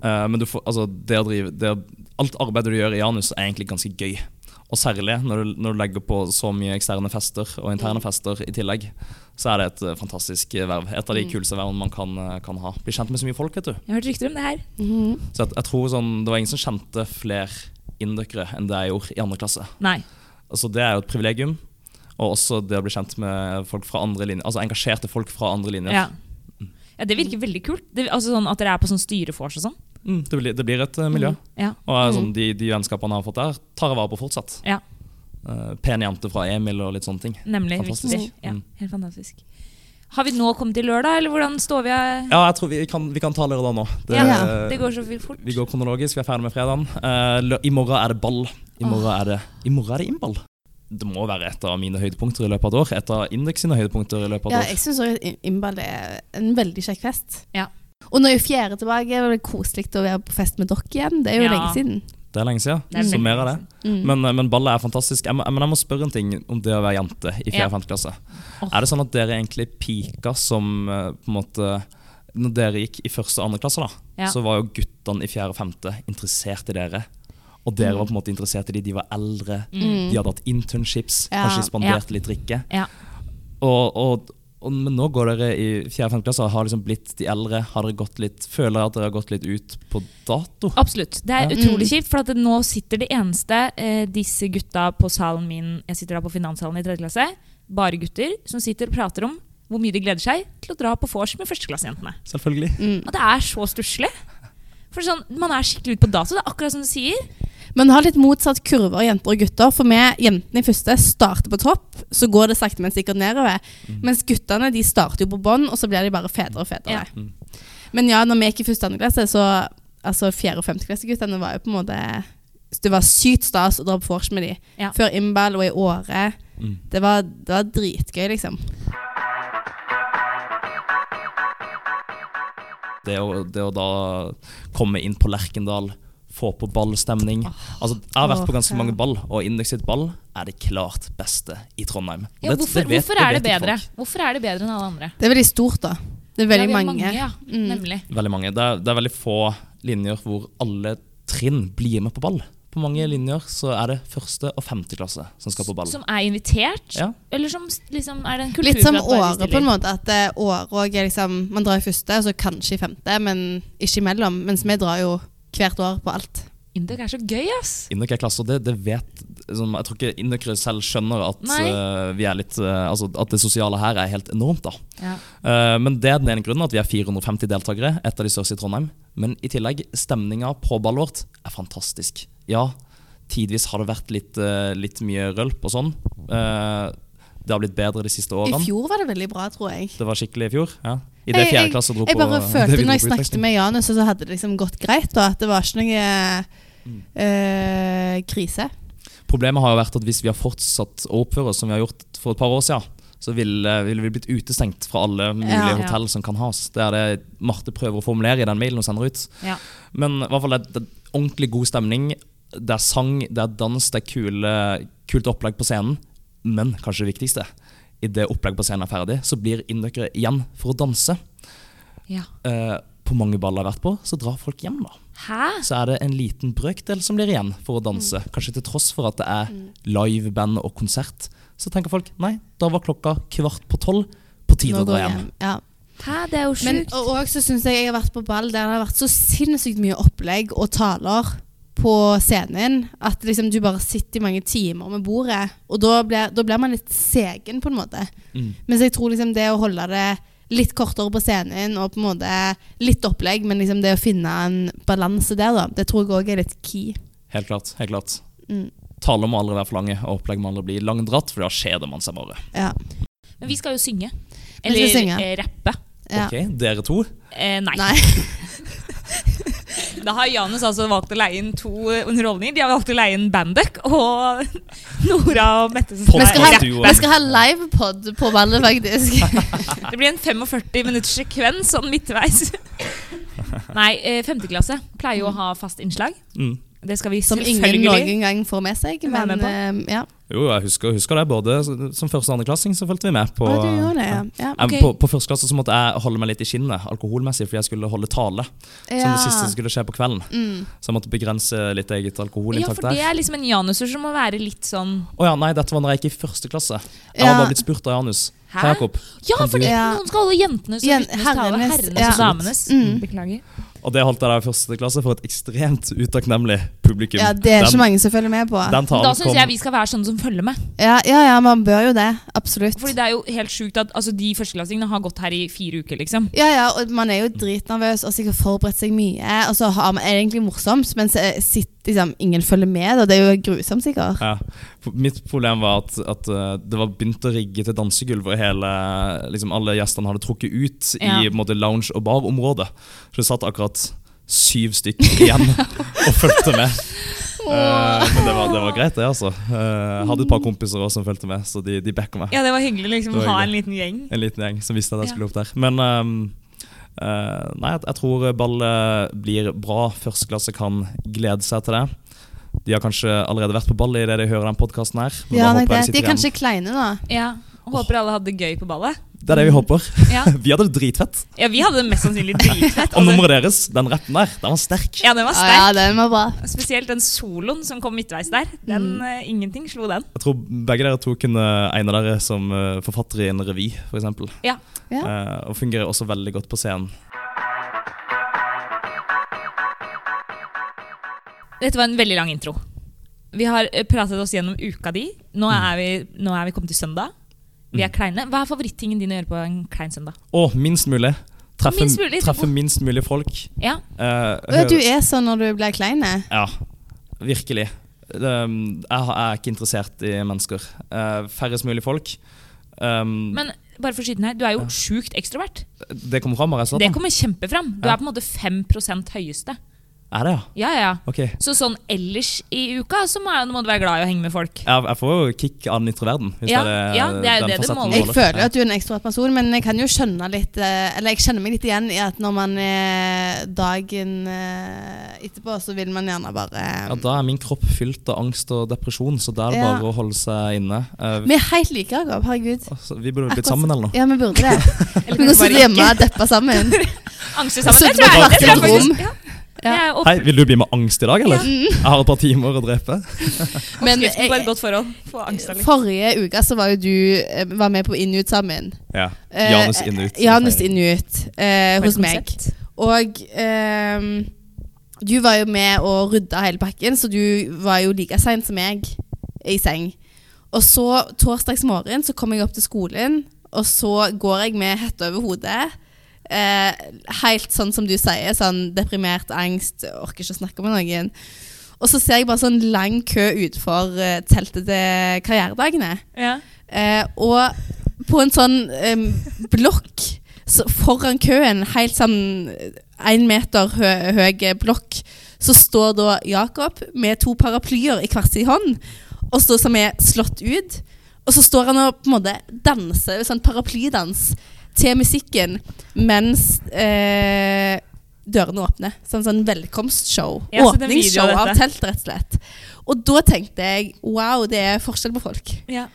Speaker 3: Eh, men du får, altså, det å drive det, å- Alt arbeidet du gjør i Janus, er egentlig ganske gøy. Og særlig når du, når du legger på så mye eksterne fester og interne
Speaker 2: Mm.
Speaker 3: fester i tillegg, så er det et eh, fantastisk eh, verv. Et av de
Speaker 1: Mm.
Speaker 3: kuleste vervene man kan, eh, kan ha. Bli kjent med så mye folk, vet du.
Speaker 2: Jeg har hørt rykter om det her.
Speaker 1: Mhm.
Speaker 3: Så jeg, jeg tror sånn, Det var ingen som kjente flere indøkere enn det jeg gjorde i andre klasse.
Speaker 2: Nei.
Speaker 3: Altså, det er jo et privilegium. Og også det å bli kjent med folk fra andre linjer, altså engasjerte folk fra andre linjer.
Speaker 2: Ja. ja, det virker veldig kult. Det, altså sånn At dere er på sånn styrefors og sånn.
Speaker 3: Mm, det, blir, det blir et eh, miljø.
Speaker 2: Mm, Ja.
Speaker 3: Og eh, sånn, de, de vennskapene jeg har fått der, tar jeg vare på fortsatt.
Speaker 2: Ja.
Speaker 3: Eh, pen jente fra Emil og litt sånne ting.
Speaker 2: Nemlig.
Speaker 3: Fantastisk.
Speaker 2: Viktig. Ja,
Speaker 3: Mm.
Speaker 2: helt fantastisk. Har vi nå kommet til lørdag, eller hvordan står vi av?
Speaker 3: Ja, jeg tror vi kan, vi kan ta lørdag nå. Det,
Speaker 1: Ja,
Speaker 2: Det går så fort.
Speaker 3: Vi går kronologisk, vi er ferdig med fredagen. Eh, lø- I morgen er det ball. I morgen er det, i morgen er det innball. Det må være et av mine høydepunkter i løpet av et år. Et av Indeks sine høydepunkter i løpet av
Speaker 1: Ja,
Speaker 3: et år.
Speaker 1: jeg syns òg at Imbal er en veldig kjekk fest.
Speaker 2: Ja.
Speaker 1: Og når jeg er fjerde tilbake, er det koselig å være på fest med dere igjen. Det er jo
Speaker 2: Ja.
Speaker 1: lenge siden.
Speaker 3: Det er lenge siden,
Speaker 2: Det er
Speaker 3: så
Speaker 2: veldig
Speaker 3: mer av det.
Speaker 2: lenge
Speaker 1: Mm.
Speaker 3: Men, eh, men ballet er fantastisk. Jeg må, men jeg må spørre en ting om det å være jente i 4.
Speaker 2: Ja.
Speaker 3: og 5. klasse.
Speaker 2: Åh.
Speaker 3: Er det sånn at dere egentlig pika som eh, på en måte Når dere gikk i 1. og 2. klasse, da,
Speaker 2: Ja.
Speaker 3: så var jo guttene i 4. og 5. interessert i dere.
Speaker 2: Mm.
Speaker 3: Og dere var på en måte interessert i de, de var eldre,
Speaker 1: Mm.
Speaker 3: de hadde hatt internships,
Speaker 1: Ja.
Speaker 3: kanskje de spanderte litt drikke.
Speaker 2: Ja.
Speaker 3: Og, og, og, men nå går dere i 4. og 5. klasse og har liksom blitt de eldre. Har dere gått litt, føler dere at dere har gått litt ut på dato?
Speaker 2: Absolutt. Det er
Speaker 3: Ja.
Speaker 2: utrolig kjipt, for at det- nå sitter det eneste eh, disse gutta på salen min Jeg sitter da på finanssalen i tredje klasse. Bare gutter som sitter og prater om hvor mye de gleder seg til å dra på vors med førsteklassejentene.
Speaker 3: Selvfølgelig.
Speaker 1: Mm.
Speaker 2: Og det er så stusslig. For sånn, man er skikkelig ute på dato. Det er akkurat som du sier.
Speaker 1: Men har litt motsatt kurver, jenter og gutter. For vi jentene i første starter på topp, så går det sakte, men sikkert nedover. Mens guttene de starter jo på bånn, og så blir de bare fedre og fedre.
Speaker 2: Ja.
Speaker 3: Mm,
Speaker 1: Men ja, når vi gikk i første og andre klasse, så altså fjerde- og femteklasseguttene var jo på en måte Det var sykt stas å dra på vors med de.
Speaker 2: Ja.
Speaker 1: Før Imbal og i Åre.
Speaker 3: Mm.
Speaker 1: Det, var, det var dritgøy, liksom.
Speaker 3: Det å, det å da komme inn på Lerkendal, få på ballstemning. Altså, jeg har vært på ganske mange ball, og Indeks sitt ball er det klart beste i Trondheim. Og
Speaker 2: Ja,
Speaker 3: det-
Speaker 2: hvorfor,
Speaker 3: det vet-
Speaker 2: hvorfor er det
Speaker 3: vet ikke
Speaker 2: bedre?
Speaker 3: folk.
Speaker 2: Hvorfor er det bedre enn alle andre?
Speaker 1: Det er veldig stort, da. Det er
Speaker 2: Ja,
Speaker 1: veldig
Speaker 2: vi er
Speaker 1: mange. Mm.
Speaker 2: ja. Nemlig.
Speaker 3: Veldig mange. Det er, det er veldig få linjer hvor alle trinn blir med på ball. På mange linjer så er det første og femte klasse som skal på ball.
Speaker 2: Som er invitert?
Speaker 3: Ja.
Speaker 2: Eller som s- liksom er det en kultur
Speaker 1: Litt som
Speaker 2: for at bare de
Speaker 1: året, på en
Speaker 2: stiller?
Speaker 1: måte. At eh, året òg er liksom Man drar i første, og så kanskje i femte, men ikke imellom. Mens vi drar jo hvert år på alt.
Speaker 2: Indok er så gøy, ass!
Speaker 3: Indok er klasse, og det, det vet sånn, Jeg tror ikke indokere selv skjønner at,
Speaker 2: Nei.
Speaker 3: eh, vi er litt, eh, altså, at det sosiale her er helt enormt. da.
Speaker 2: Ja.
Speaker 3: Eh, Men det er den ene grunnen at vi er 450 deltakere, et av de største i Trondheim. Men i tillegg, stemninga på ballet vårt er fantastisk. Ja, tidvis har det vært litt, eh, litt mye rølp og sånn. Eh, Det har blitt bedre de siste
Speaker 1: I
Speaker 3: årene.
Speaker 1: fjor var det veldig bra, tror jeg.
Speaker 3: Det var skikkelig i fjor. ja. I det
Speaker 1: Jeg-
Speaker 3: fjerde klasse dro
Speaker 1: Jeg bare
Speaker 3: på (laughs) liksom. det
Speaker 1: følte
Speaker 3: vi
Speaker 1: når jeg
Speaker 3: dro på
Speaker 1: snakket
Speaker 3: utveksling.
Speaker 1: med Janus, og så hadde det liksom gått greit, og at det var ikke noe
Speaker 3: Mm.
Speaker 1: eh, krise.
Speaker 3: Problemet har jo vært at hvis vi har fortsatt å oppføre oss som vi har gjort for et par år siden, så ville, ville vi blitt utestengt fra alle mulige
Speaker 1: Ja.
Speaker 3: hotell som kan has. Det er det Marte prøver å formulere i den mailen hun sender ut.
Speaker 2: Ja.
Speaker 3: Men i hvert fall det, det er ordentlig god stemning. Det er sang, det er dans, det er kule, kult opplegg på scenen. Men kanskje det viktigste, idet opplegget på scenen er ferdig, så blir innøkere igjen for å danse.
Speaker 2: Ja.
Speaker 3: Eh, på mange baller jeg har vært på, så drar folk hjem, da
Speaker 2: Hæ?
Speaker 3: så er det en liten brøkdel som blir igjen for å danse.
Speaker 1: Mm.
Speaker 3: Kanskje til tross for at det er liveband og konsert. Så tenker folk nei, da var klokka kvart på tolv. På tide
Speaker 1: Nå
Speaker 3: å dra
Speaker 1: går jeg
Speaker 3: hjem.
Speaker 1: hjem. Ja.
Speaker 2: Hæ, det er jo
Speaker 1: Men
Speaker 2: sjukt.
Speaker 1: og og så syns jeg jeg har vært på ball der det har vært så sinnssykt mye opplegg og taler på scenen at liksom du bare sitter i mange timer med bordet, og da blir, da blir man litt segen, på en måte.
Speaker 3: Mm.
Speaker 1: Mens jeg tror liksom det å holde det litt kortere på scenen og på en måte litt opplegg, men liksom det å finne en balanse der, da, det tror jeg òg er litt key.
Speaker 3: Helt klart. helt klart.
Speaker 1: Mm.
Speaker 3: Taler må aldri være for lange, og opplegg må aldri bli langdratt, for da skjeder man seg bare.
Speaker 1: Ja.
Speaker 2: Men vi skal jo synge.
Speaker 1: skal
Speaker 2: Eller
Speaker 1: synge.
Speaker 2: eh, rappe.
Speaker 1: ja.
Speaker 3: Ok, Dere to.
Speaker 2: Eh, nei.
Speaker 1: Nei.
Speaker 2: Da har Janus altså valgt å leie inn to eh, underholdninger. De har valgt å leie inn Banduk og (laughs) Nora og Mette. som
Speaker 1: Vi
Speaker 2: skal
Speaker 1: skal
Speaker 2: rappe.
Speaker 1: ha,
Speaker 3: Duoen.
Speaker 1: vi skal ha livepod på ballet,
Speaker 3: (laughs)
Speaker 1: faktisk.
Speaker 2: Det blir en 45 minutters
Speaker 3: (laughs)
Speaker 2: sekvens sånn midtveis. Nei, eh, femte klasse pleier jo å ha fast innslag.
Speaker 3: Mm.
Speaker 2: Det skal vi
Speaker 1: Som ingen
Speaker 2: selvfølgelig.
Speaker 1: noen gang får med seg.
Speaker 2: Være
Speaker 1: Men
Speaker 2: med på.
Speaker 1: eh, ja.
Speaker 3: Jo, jeg husker, husker det. Både som første- og andreklassing så fulgte vi med på
Speaker 1: Å, du gjorde det, ja. ja.
Speaker 2: Ok.
Speaker 3: Jeg- På, på første klasse så måtte jeg holde meg litt i skinnet alkoholmessig, fordi jeg skulle holde tale. Som det siste som skulle skje på kvelden.
Speaker 1: Mm.
Speaker 3: Så jeg måtte begrense litt eget
Speaker 2: Ja,
Speaker 3: alkoholinntak
Speaker 2: for det
Speaker 3: der.
Speaker 2: er liksom en januser som må være litt sånn
Speaker 3: Å ja, nei, dette var når jeg gikk i første klasse. Jeg
Speaker 1: Ja.
Speaker 3: var bare blitt spurt av Janus. Hei,
Speaker 2: Hæ?
Speaker 3: Jakob.
Speaker 2: Ja,
Speaker 3: Kan
Speaker 2: fordi
Speaker 3: du-
Speaker 1: Ja.
Speaker 2: noen skal holde jentenes og
Speaker 1: Jen-
Speaker 2: guttenes tale.
Speaker 1: herrenes,
Speaker 2: Herrenes
Speaker 1: ja.
Speaker 2: og damenes.
Speaker 1: Mm.
Speaker 2: Beklager.
Speaker 3: Og det holdt jeg der i første klasse for et ekstremt utakknemlig publikum.
Speaker 1: ja, det er
Speaker 3: den,
Speaker 1: ikke mange som følger med på.
Speaker 3: Den talen
Speaker 2: Da syns
Speaker 3: kom
Speaker 2: jeg vi skal være sånne som følger med.
Speaker 1: Ja, ja, ja, man bør jo det. Absolutt.
Speaker 2: Fordi det er jo helt sjukt at altså, de førsteklassingene har gått her i fire uker, liksom.
Speaker 1: Ja, ja, og man er jo dritnervøs og sikkert forberedt seg mye. Og så har man, er det egentlig morsomt, men så er- sitt, liksom, ingen følger med. Og det er jo grusomt, sikkert.
Speaker 3: ja. For Mitt problem var at, at eh, det var begynt å rigge til dansegulv, og hele, liksom alle gjestene hadde trukket ut
Speaker 2: Ja.
Speaker 3: i på en måte, lounge- og barområdet. Så det satt akkurat syv stykker igjen
Speaker 1: (laughs)
Speaker 3: og fulgte med. Eh, men det var, det var greit, det, altså. Eh, jeg hadde et par kompiser også som fulgte med, så de, de backa meg.
Speaker 2: Ja, det var hyggelig liksom,
Speaker 3: Det
Speaker 2: å
Speaker 3: var
Speaker 2: ha en liten gjeng.
Speaker 3: En liten gjeng som visste at jeg
Speaker 2: Ja.
Speaker 3: skulle opp der. Men ehm, eh, nei, jeg, jeg tror ballet blir bra. Førsteklasse kan glede seg til det. De har kanskje allerede vært på ballet idet de hører den podkasten her. men
Speaker 1: Ja,
Speaker 3: da
Speaker 1: nei,
Speaker 3: håper jeg
Speaker 1: det, de er
Speaker 3: sitter igjen.
Speaker 1: kanskje kleine nå.
Speaker 2: Ja, og Håper alle hadde det gøy på ballet.
Speaker 3: Det er det vi håper.
Speaker 2: Ja,
Speaker 3: (laughs) Vi hadde det dritfett.
Speaker 2: ja Vi hadde det mest sannsynlig dritfett.
Speaker 3: Og
Speaker 2: Altså.
Speaker 3: nummeret deres, den rappen der, den var sterk.
Speaker 2: Ja, den var
Speaker 1: Ja,
Speaker 2: sterk.
Speaker 1: ja, den var bra.
Speaker 2: Spesielt den soloen som kom midtveis der. Den,
Speaker 1: Mm.
Speaker 2: eh, ingenting slo den.
Speaker 3: Jeg tror begge dere to kunne egne dere som eh, forfattere i en revy, f.eks.
Speaker 2: Ja.
Speaker 3: Eh, og fungerer også veldig godt på scenen.
Speaker 2: Dette var en veldig lang intro. Vi har eh, pratet oss gjennom uka di. Nå
Speaker 1: Mm.
Speaker 2: er vi, nå er vi kommet til søndag. Vi er kleine. Hva er favorittingen din å gjøre på en klein søndag?
Speaker 3: Og minst mulig. Treffe
Speaker 2: Minst mulig.
Speaker 3: treffe minst mulig folk.
Speaker 2: Ja,
Speaker 3: Eh,
Speaker 1: Ja,
Speaker 3: høre-
Speaker 1: Du er sånn når du blir kleine.
Speaker 3: Ja, virkelig. Um, jeg har- jeg er ikke interessert i mennesker. Eh, færrest mulig folk.
Speaker 1: Mm.
Speaker 3: Um,
Speaker 2: Men bare for siden her, du er jo sjukt ekstrovert.
Speaker 3: det kommer fram av resultatet?
Speaker 2: Det kommer kjempefram. Du
Speaker 3: Ja.
Speaker 2: er på en måte 5 høyeste.
Speaker 3: Er det, ja?
Speaker 2: Ja, ja.
Speaker 3: Ok. Jeg,
Speaker 2: Så sånn ellers i uka så må, må du være glad i å henge med
Speaker 1: (laughs)
Speaker 2: folk.
Speaker 3: jeg får jo kick av den ytre verden. Hvis
Speaker 2: Ja,
Speaker 3: det er,
Speaker 2: ja, det er jo
Speaker 3: den
Speaker 2: det det
Speaker 3: fasetten
Speaker 2: måler.
Speaker 1: Jeg
Speaker 3: holder.
Speaker 1: føler jo
Speaker 3: Ja.
Speaker 1: at du er en ekstrovert person, men jeg kan jo skjønne litt eh, Eller jeg kjenner meg litt igjen i at når man er dagen eh, etterpå, så vil man gjerne bare eh,
Speaker 3: ja, Da er min kropp fylt av angst og depresjon, så det er
Speaker 1: Ja.
Speaker 3: bare å holde seg inne. Eh,
Speaker 1: Vi er helt like, Jakob. Herregud.
Speaker 3: altså, vi burde blitt
Speaker 1: Akkurat
Speaker 3: sammen eller noe.
Speaker 1: Ja, vi burde det.
Speaker 2: (laughs) Eller
Speaker 1: Vi
Speaker 2: kanskje
Speaker 1: går sitte
Speaker 2: bare
Speaker 1: hjemme
Speaker 2: ikke.
Speaker 1: og deppe
Speaker 2: (laughs)
Speaker 1: sammen.
Speaker 2: Angste
Speaker 1: Og
Speaker 2: sammen.
Speaker 1: sitte
Speaker 2: Det tror
Speaker 1: på
Speaker 2: jeg, det tror jeg
Speaker 1: hvert sitt
Speaker 2: faktisk. Ja. Mm.
Speaker 1: Ja.
Speaker 2: Jeg er opp-
Speaker 3: Hei, Vil du bli med angst i dag, eller? Jeg har et par timer å drepe.
Speaker 1: Men
Speaker 2: Oppskriften på
Speaker 1: jeg,
Speaker 2: et godt forhold. Få angst av litt.
Speaker 1: forrige uke så var jo du eh, var med på Inut sammen.
Speaker 3: Ja.
Speaker 1: Eh,
Speaker 3: Janus inn og ut.
Speaker 1: Janus Inut eh,
Speaker 2: For et
Speaker 1: hos meg.
Speaker 2: konsept.
Speaker 1: Og ehm, du var jo med og rydda hele pakken, så du var jo like sein som meg i seng. Og så torsdags morgen så kom jeg opp til skolen, og så går jeg med hette over hodet. Eh, helt sånn som du sier, sånn deprimert, angst, orker ikke å snakke med noen. Og så ser jeg bare sånn lang kø utenfor eh, teltet til karrieredagene.
Speaker 2: Ja.
Speaker 1: Eh, og på en sånn eh, blokk så foran køen, helt sånn én meter hø høy blokk, så står da Jakob med to paraplyer i hver sin hånd, og så, som er slått ut. Og så står han og på en måte danser, sånn paraplydans, til musikken mens eh, dørene åpner. Sånn, sånn velkomstshow.
Speaker 2: Jeg har sett en video av
Speaker 1: Åpningsshow av
Speaker 2: dette.
Speaker 1: telt, rett og slett. Og da tenkte jeg wow, det er forskjell på folk.
Speaker 2: Ja.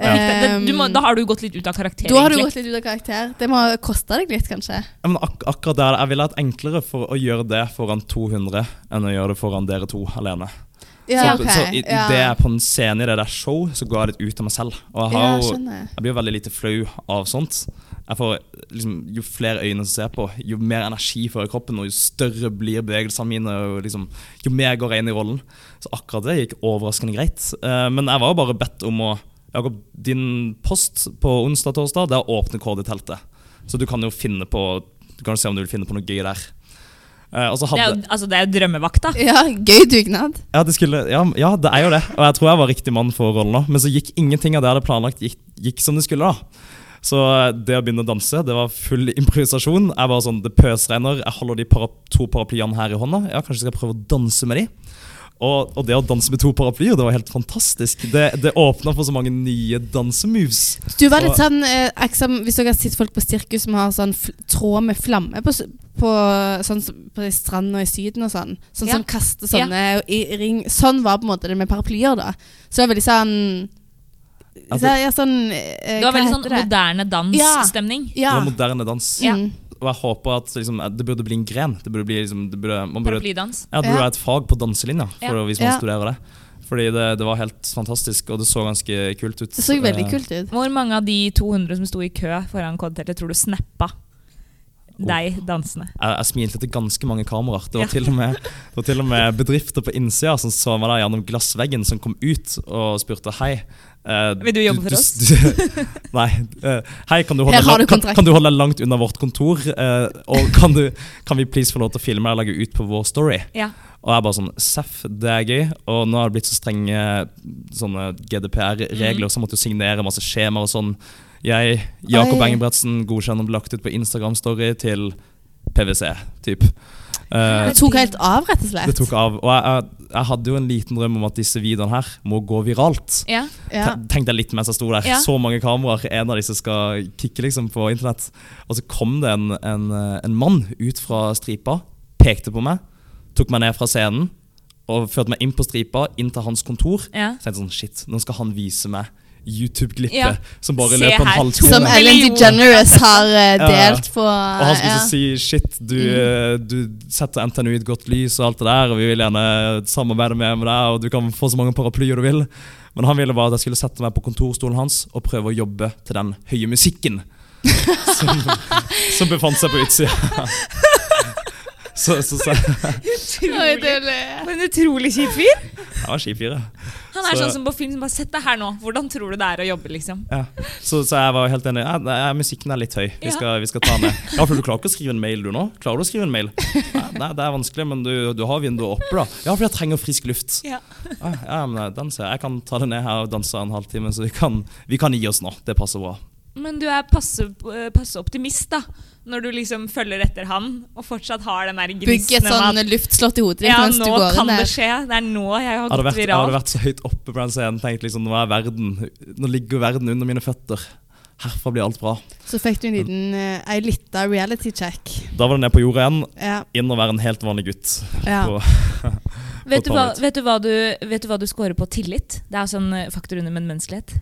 Speaker 3: Ja.
Speaker 2: Det, det, du må,
Speaker 1: Ehm,
Speaker 2: da har du gått litt ut av karakter.
Speaker 1: da har du
Speaker 2: egentlig.
Speaker 1: gått litt ut av karakter. Det må ha kosta deg litt, kanskje.
Speaker 3: Ja, men ak akkurat der, Jeg ville hatt enklere for å gjøre det foran 200 enn å gjøre det foran dere to alene. så, så i, i det jeg er på en scene i det der show, så går jeg litt ut av meg selv. Og jeg,
Speaker 1: Ja,
Speaker 3: har, jo-
Speaker 1: skjønner.
Speaker 3: jeg blir jo veldig lite flau av sånt. Jeg får, liksom, jo flere øyne som ser på, jo mer energi får jeg i kroppen, og jo større blir bevegelsene mine, og liksom, jo mer går jeg inn i rollen. Så akkurat det gikk overraskende greit. Eh, men jeg var jo bare bedt om å Jakob, din post på onsdag-torsdag, det er å åpne KD-teltet. Så du kan jo finne på Du kan jo se om du vil finne på noe gøy der. Eh, og så
Speaker 2: Det
Speaker 3: hadde,
Speaker 2: er jo, altså, det er jo drømmevakta.
Speaker 1: Ja, gøy dugnad.
Speaker 3: ja det, skulle, ja, ja, det er jo det. Og jeg tror jeg var riktig mann for rollen òg. Men så gikk ingenting av det jeg hadde planlagt, gikk, gikk som det skulle. da. Så eh, det å begynne å danse, det var full improvisasjon. Jeg var sånn, Det pøsregner, jeg holder de para, to paraplyene her i hånda. Ja, Kanskje jeg skal prøve å danse med de. Og, og det å danse med to paraplyer, det var helt fantastisk. Det, det åpna for så mange nye dansemoves.
Speaker 1: Du var litt
Speaker 3: Så-
Speaker 1: sånn eh, akkurat som Hvis dere har sett folk på sirkus som har sånn fl tråd med flamme på, s- på, sånn, som- på de strandene i Syden og sånn. Sånn
Speaker 2: Ja.
Speaker 1: som kaster sånne i, i ring. Sånn var på en måte det med paraplyer, da. Så det var veldig sånn
Speaker 3: Altså-
Speaker 1: så, ja, sånn eh,
Speaker 2: Det var
Speaker 1: Hva
Speaker 2: veldig
Speaker 1: heter
Speaker 2: sånn
Speaker 1: det?
Speaker 2: moderne
Speaker 1: Ja.
Speaker 2: dansstemning.
Speaker 3: Det
Speaker 1: Ja.
Speaker 3: var moderne dans.
Speaker 2: Ja.
Speaker 1: Mm.
Speaker 3: Og jeg håper at liksom, det burde bli en gren. Det burde bli, liksom, det burde, man burde,
Speaker 2: Paraplydans.
Speaker 3: ja, det burde
Speaker 1: Ja.
Speaker 3: være et fag på danselinja for,
Speaker 2: Ja.
Speaker 3: hvis man
Speaker 1: Ja.
Speaker 3: studerer det. Fordi det, det var helt fantastisk, og det så ganske kult ut.
Speaker 1: Det så veldig
Speaker 3: Eh,
Speaker 1: kult ut.
Speaker 2: Hvor mange av de 200 som sto i kø foran kodeteltet, tror du snappa
Speaker 3: Oh.
Speaker 2: deg dansende?
Speaker 3: Jeg, jeg smilte til ganske mange kameraer. Det var,
Speaker 2: Ja.
Speaker 3: til
Speaker 1: (laughs)
Speaker 3: og med, det var til og med bedrifter på innsida som så meg der gjennom glassveggen, som kom ut og spurte hei. eh,
Speaker 2: Vil du jobbe for oss?»
Speaker 3: du- (laughs) nei. eh, hei, kan du, holde
Speaker 1: Her har du
Speaker 3: deg- kan,
Speaker 1: kontrakt.
Speaker 3: kan du holde deg langt unna vårt kontor? eh, og kan, du, kan vi please få lov til å filme deg og legge ut på vår story?
Speaker 2: Ja.
Speaker 3: Og jeg bare sånn Seff, det er gøy. Og nå har det blitt så strenge sånne GDPR-regler, så jeg måtte jo signere masse skjemaer og sånn. Jeg, Jakob
Speaker 1: Oi.
Speaker 3: Engebretsen, godkjenner og lagt ut på Instagram-story til PwC, typ. Eh,
Speaker 1: Det tok helt av, rett og
Speaker 3: det
Speaker 1: slett.
Speaker 3: tok av. Og jeg, jeg, jeg hadde jo en liten drøm om at disse videoene her må gå viralt.
Speaker 2: Ja.
Speaker 1: Ja.
Speaker 3: Ten- Tenkte jeg litt mens jeg sto der.
Speaker 2: Ja.
Speaker 3: Så mange kameraer. En av disse skal kikke liksom på internett. Og så kom det en, en, en mann ut fra stripa, pekte på meg, tok meg ned fra scenen og førte meg inn på stripa, inn til hans kontor.
Speaker 2: ja.
Speaker 3: Så tenkte jeg sånn, shit, nå skal han vise meg YouTube-klippet
Speaker 2: Ja.
Speaker 3: som bare
Speaker 2: Se
Speaker 3: løper en
Speaker 2: her, to
Speaker 3: halvtime.
Speaker 1: Som Ellen
Speaker 2: Million.
Speaker 1: (laughs) DeGeneres har eh,
Speaker 3: Ja.
Speaker 1: delt på
Speaker 3: Og han skulle
Speaker 1: Ah, ja.
Speaker 3: så si shit, du, eh, du setter NTNU i et godt lys og alt det der, og vi vil gjerne samarbeide med, med deg, og du kan få så mange paraplyer du vil. Men han ville bare at jeg skulle sette meg på kontorstolen hans og prøve å jobbe til den høye musikken som, som befant seg på utsida. Så, så, så jeg
Speaker 1: Oi,
Speaker 2: Utrolig.
Speaker 1: det ble-
Speaker 2: For en utrolig kjip fyr.
Speaker 3: var skifire.
Speaker 2: Han er
Speaker 3: Så-
Speaker 2: sånn som på film som bare Sett deg her nå. Hvordan tror du det er å jobbe, liksom?
Speaker 3: Ja. Så, så jeg var helt enig. Ja, nei, ja, musikken er litt høy. Vi
Speaker 2: Ja.
Speaker 3: skal, vi skal ta den ned. Ja, for du klarer ikke å skrive en mail, du nå? Klarer du å skrive en mail? Nei, nei, det er vanskelig, men du, du har vinduet oppe, da. Ja, for jeg trenger frisk luft.
Speaker 2: Ja.
Speaker 3: Ja, ja, men den ser jeg. Jeg kan ta det ned her og danse en halvtime, så vi kan, vi kan gi oss nå. Det passer bra.
Speaker 2: Men du er passe, eh, passe optimist, da. Når du liksom følger etter han og fortsatt har den der
Speaker 1: Bygge
Speaker 2: gnisten
Speaker 1: et
Speaker 2: om
Speaker 1: sånn
Speaker 2: at
Speaker 1: luftslott i hodet ditt
Speaker 2: ja,
Speaker 1: mens du
Speaker 2: nå
Speaker 1: går
Speaker 2: kan
Speaker 1: inn
Speaker 2: det
Speaker 1: der.
Speaker 2: skje. Det er nå jeg har
Speaker 3: Jeg hadde
Speaker 2: gått
Speaker 3: vært, jeg hadde
Speaker 2: viralt.
Speaker 3: vært så høyt oppe på den scenen, tenkt liksom, nå er verden Nå ligger verden under mine føtter. Herfra blir alt bra.
Speaker 1: Så fikk du en liten eh, ei lita reality check.
Speaker 3: Da var det ned på jorda igjen.
Speaker 1: Ja.
Speaker 3: Inn og være en helt vanlig gutt.
Speaker 1: ja.
Speaker 3: På, (laughs)
Speaker 2: Vet du,
Speaker 3: på
Speaker 2: hva,
Speaker 3: toalett.
Speaker 2: vet, du hva du, vet du hva du scorer på tillit? Det er sånn eh, faktor under menneskelighet.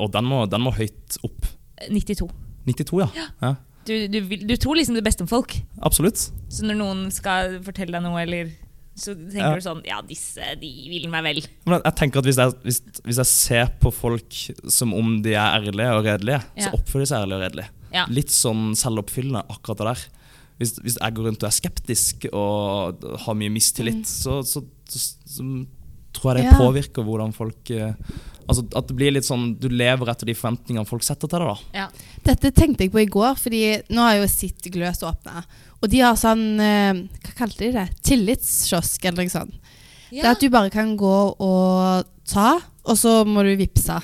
Speaker 3: og den må, den må høyt opp.
Speaker 2: 92.
Speaker 3: 92, ja. ja.
Speaker 2: Du, du, vil- du tror liksom det beste om folk.
Speaker 3: Absolutt.
Speaker 2: Så når noen skal fortelle deg noe, eller så tenker
Speaker 3: Ja.
Speaker 2: du sånn Ja, disse de vil meg vel.
Speaker 3: Men jeg- jeg tenker at hvis jeg, hvis, hvis jeg ser på folk som om de er ærlige og redelige,
Speaker 2: Ja.
Speaker 3: så oppfører de seg ærlige og redelige.
Speaker 2: Ja.
Speaker 3: Litt sånn selvoppfyllende akkurat det der. Hvis, hvis jeg går rundt og er skeptisk og har mye mistillit,
Speaker 2: Mm.
Speaker 3: så, så, så, så tror jeg det
Speaker 1: Ja.
Speaker 3: påvirker hvordan folk eh, Altså at det blir litt sånn Du lever etter de forventningene folk setter til deg, da.
Speaker 2: Ja.
Speaker 1: Dette tenkte jeg på i går, fordi nå har jeg jo sitt gløs åpna. Og de har sånn eh, Hva kalte de det? Tillitskiosk eller noe sånt. Det er at du bare kan gå og ta, og så må du vippse.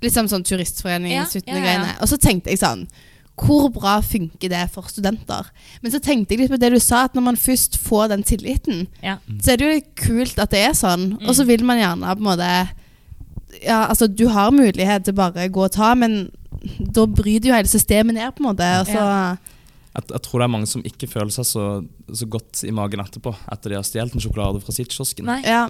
Speaker 1: Liksom sånn turistforening
Speaker 2: Ja,
Speaker 1: suttende
Speaker 2: ja, ja, ja.
Speaker 1: greiene. Og så tenkte jeg sånn Hvor bra funker det for studenter? Men så tenkte jeg litt på det du sa, at når man først får den tilliten,
Speaker 2: Ja.
Speaker 1: så er det jo litt kult at det er sånn.
Speaker 2: Mm.
Speaker 1: Og så vil man gjerne på en måte Ja, altså, du har mulighet til bare å gå og ta, men da bryter jo hele systemet ned, på en måte. Og så
Speaker 3: Jeg, jeg tror det er mange som ikke føler seg så, så godt i magen etterpå etter de har stjålet en sjokolade fra sitt kiosken.
Speaker 2: Nei.
Speaker 1: Ja.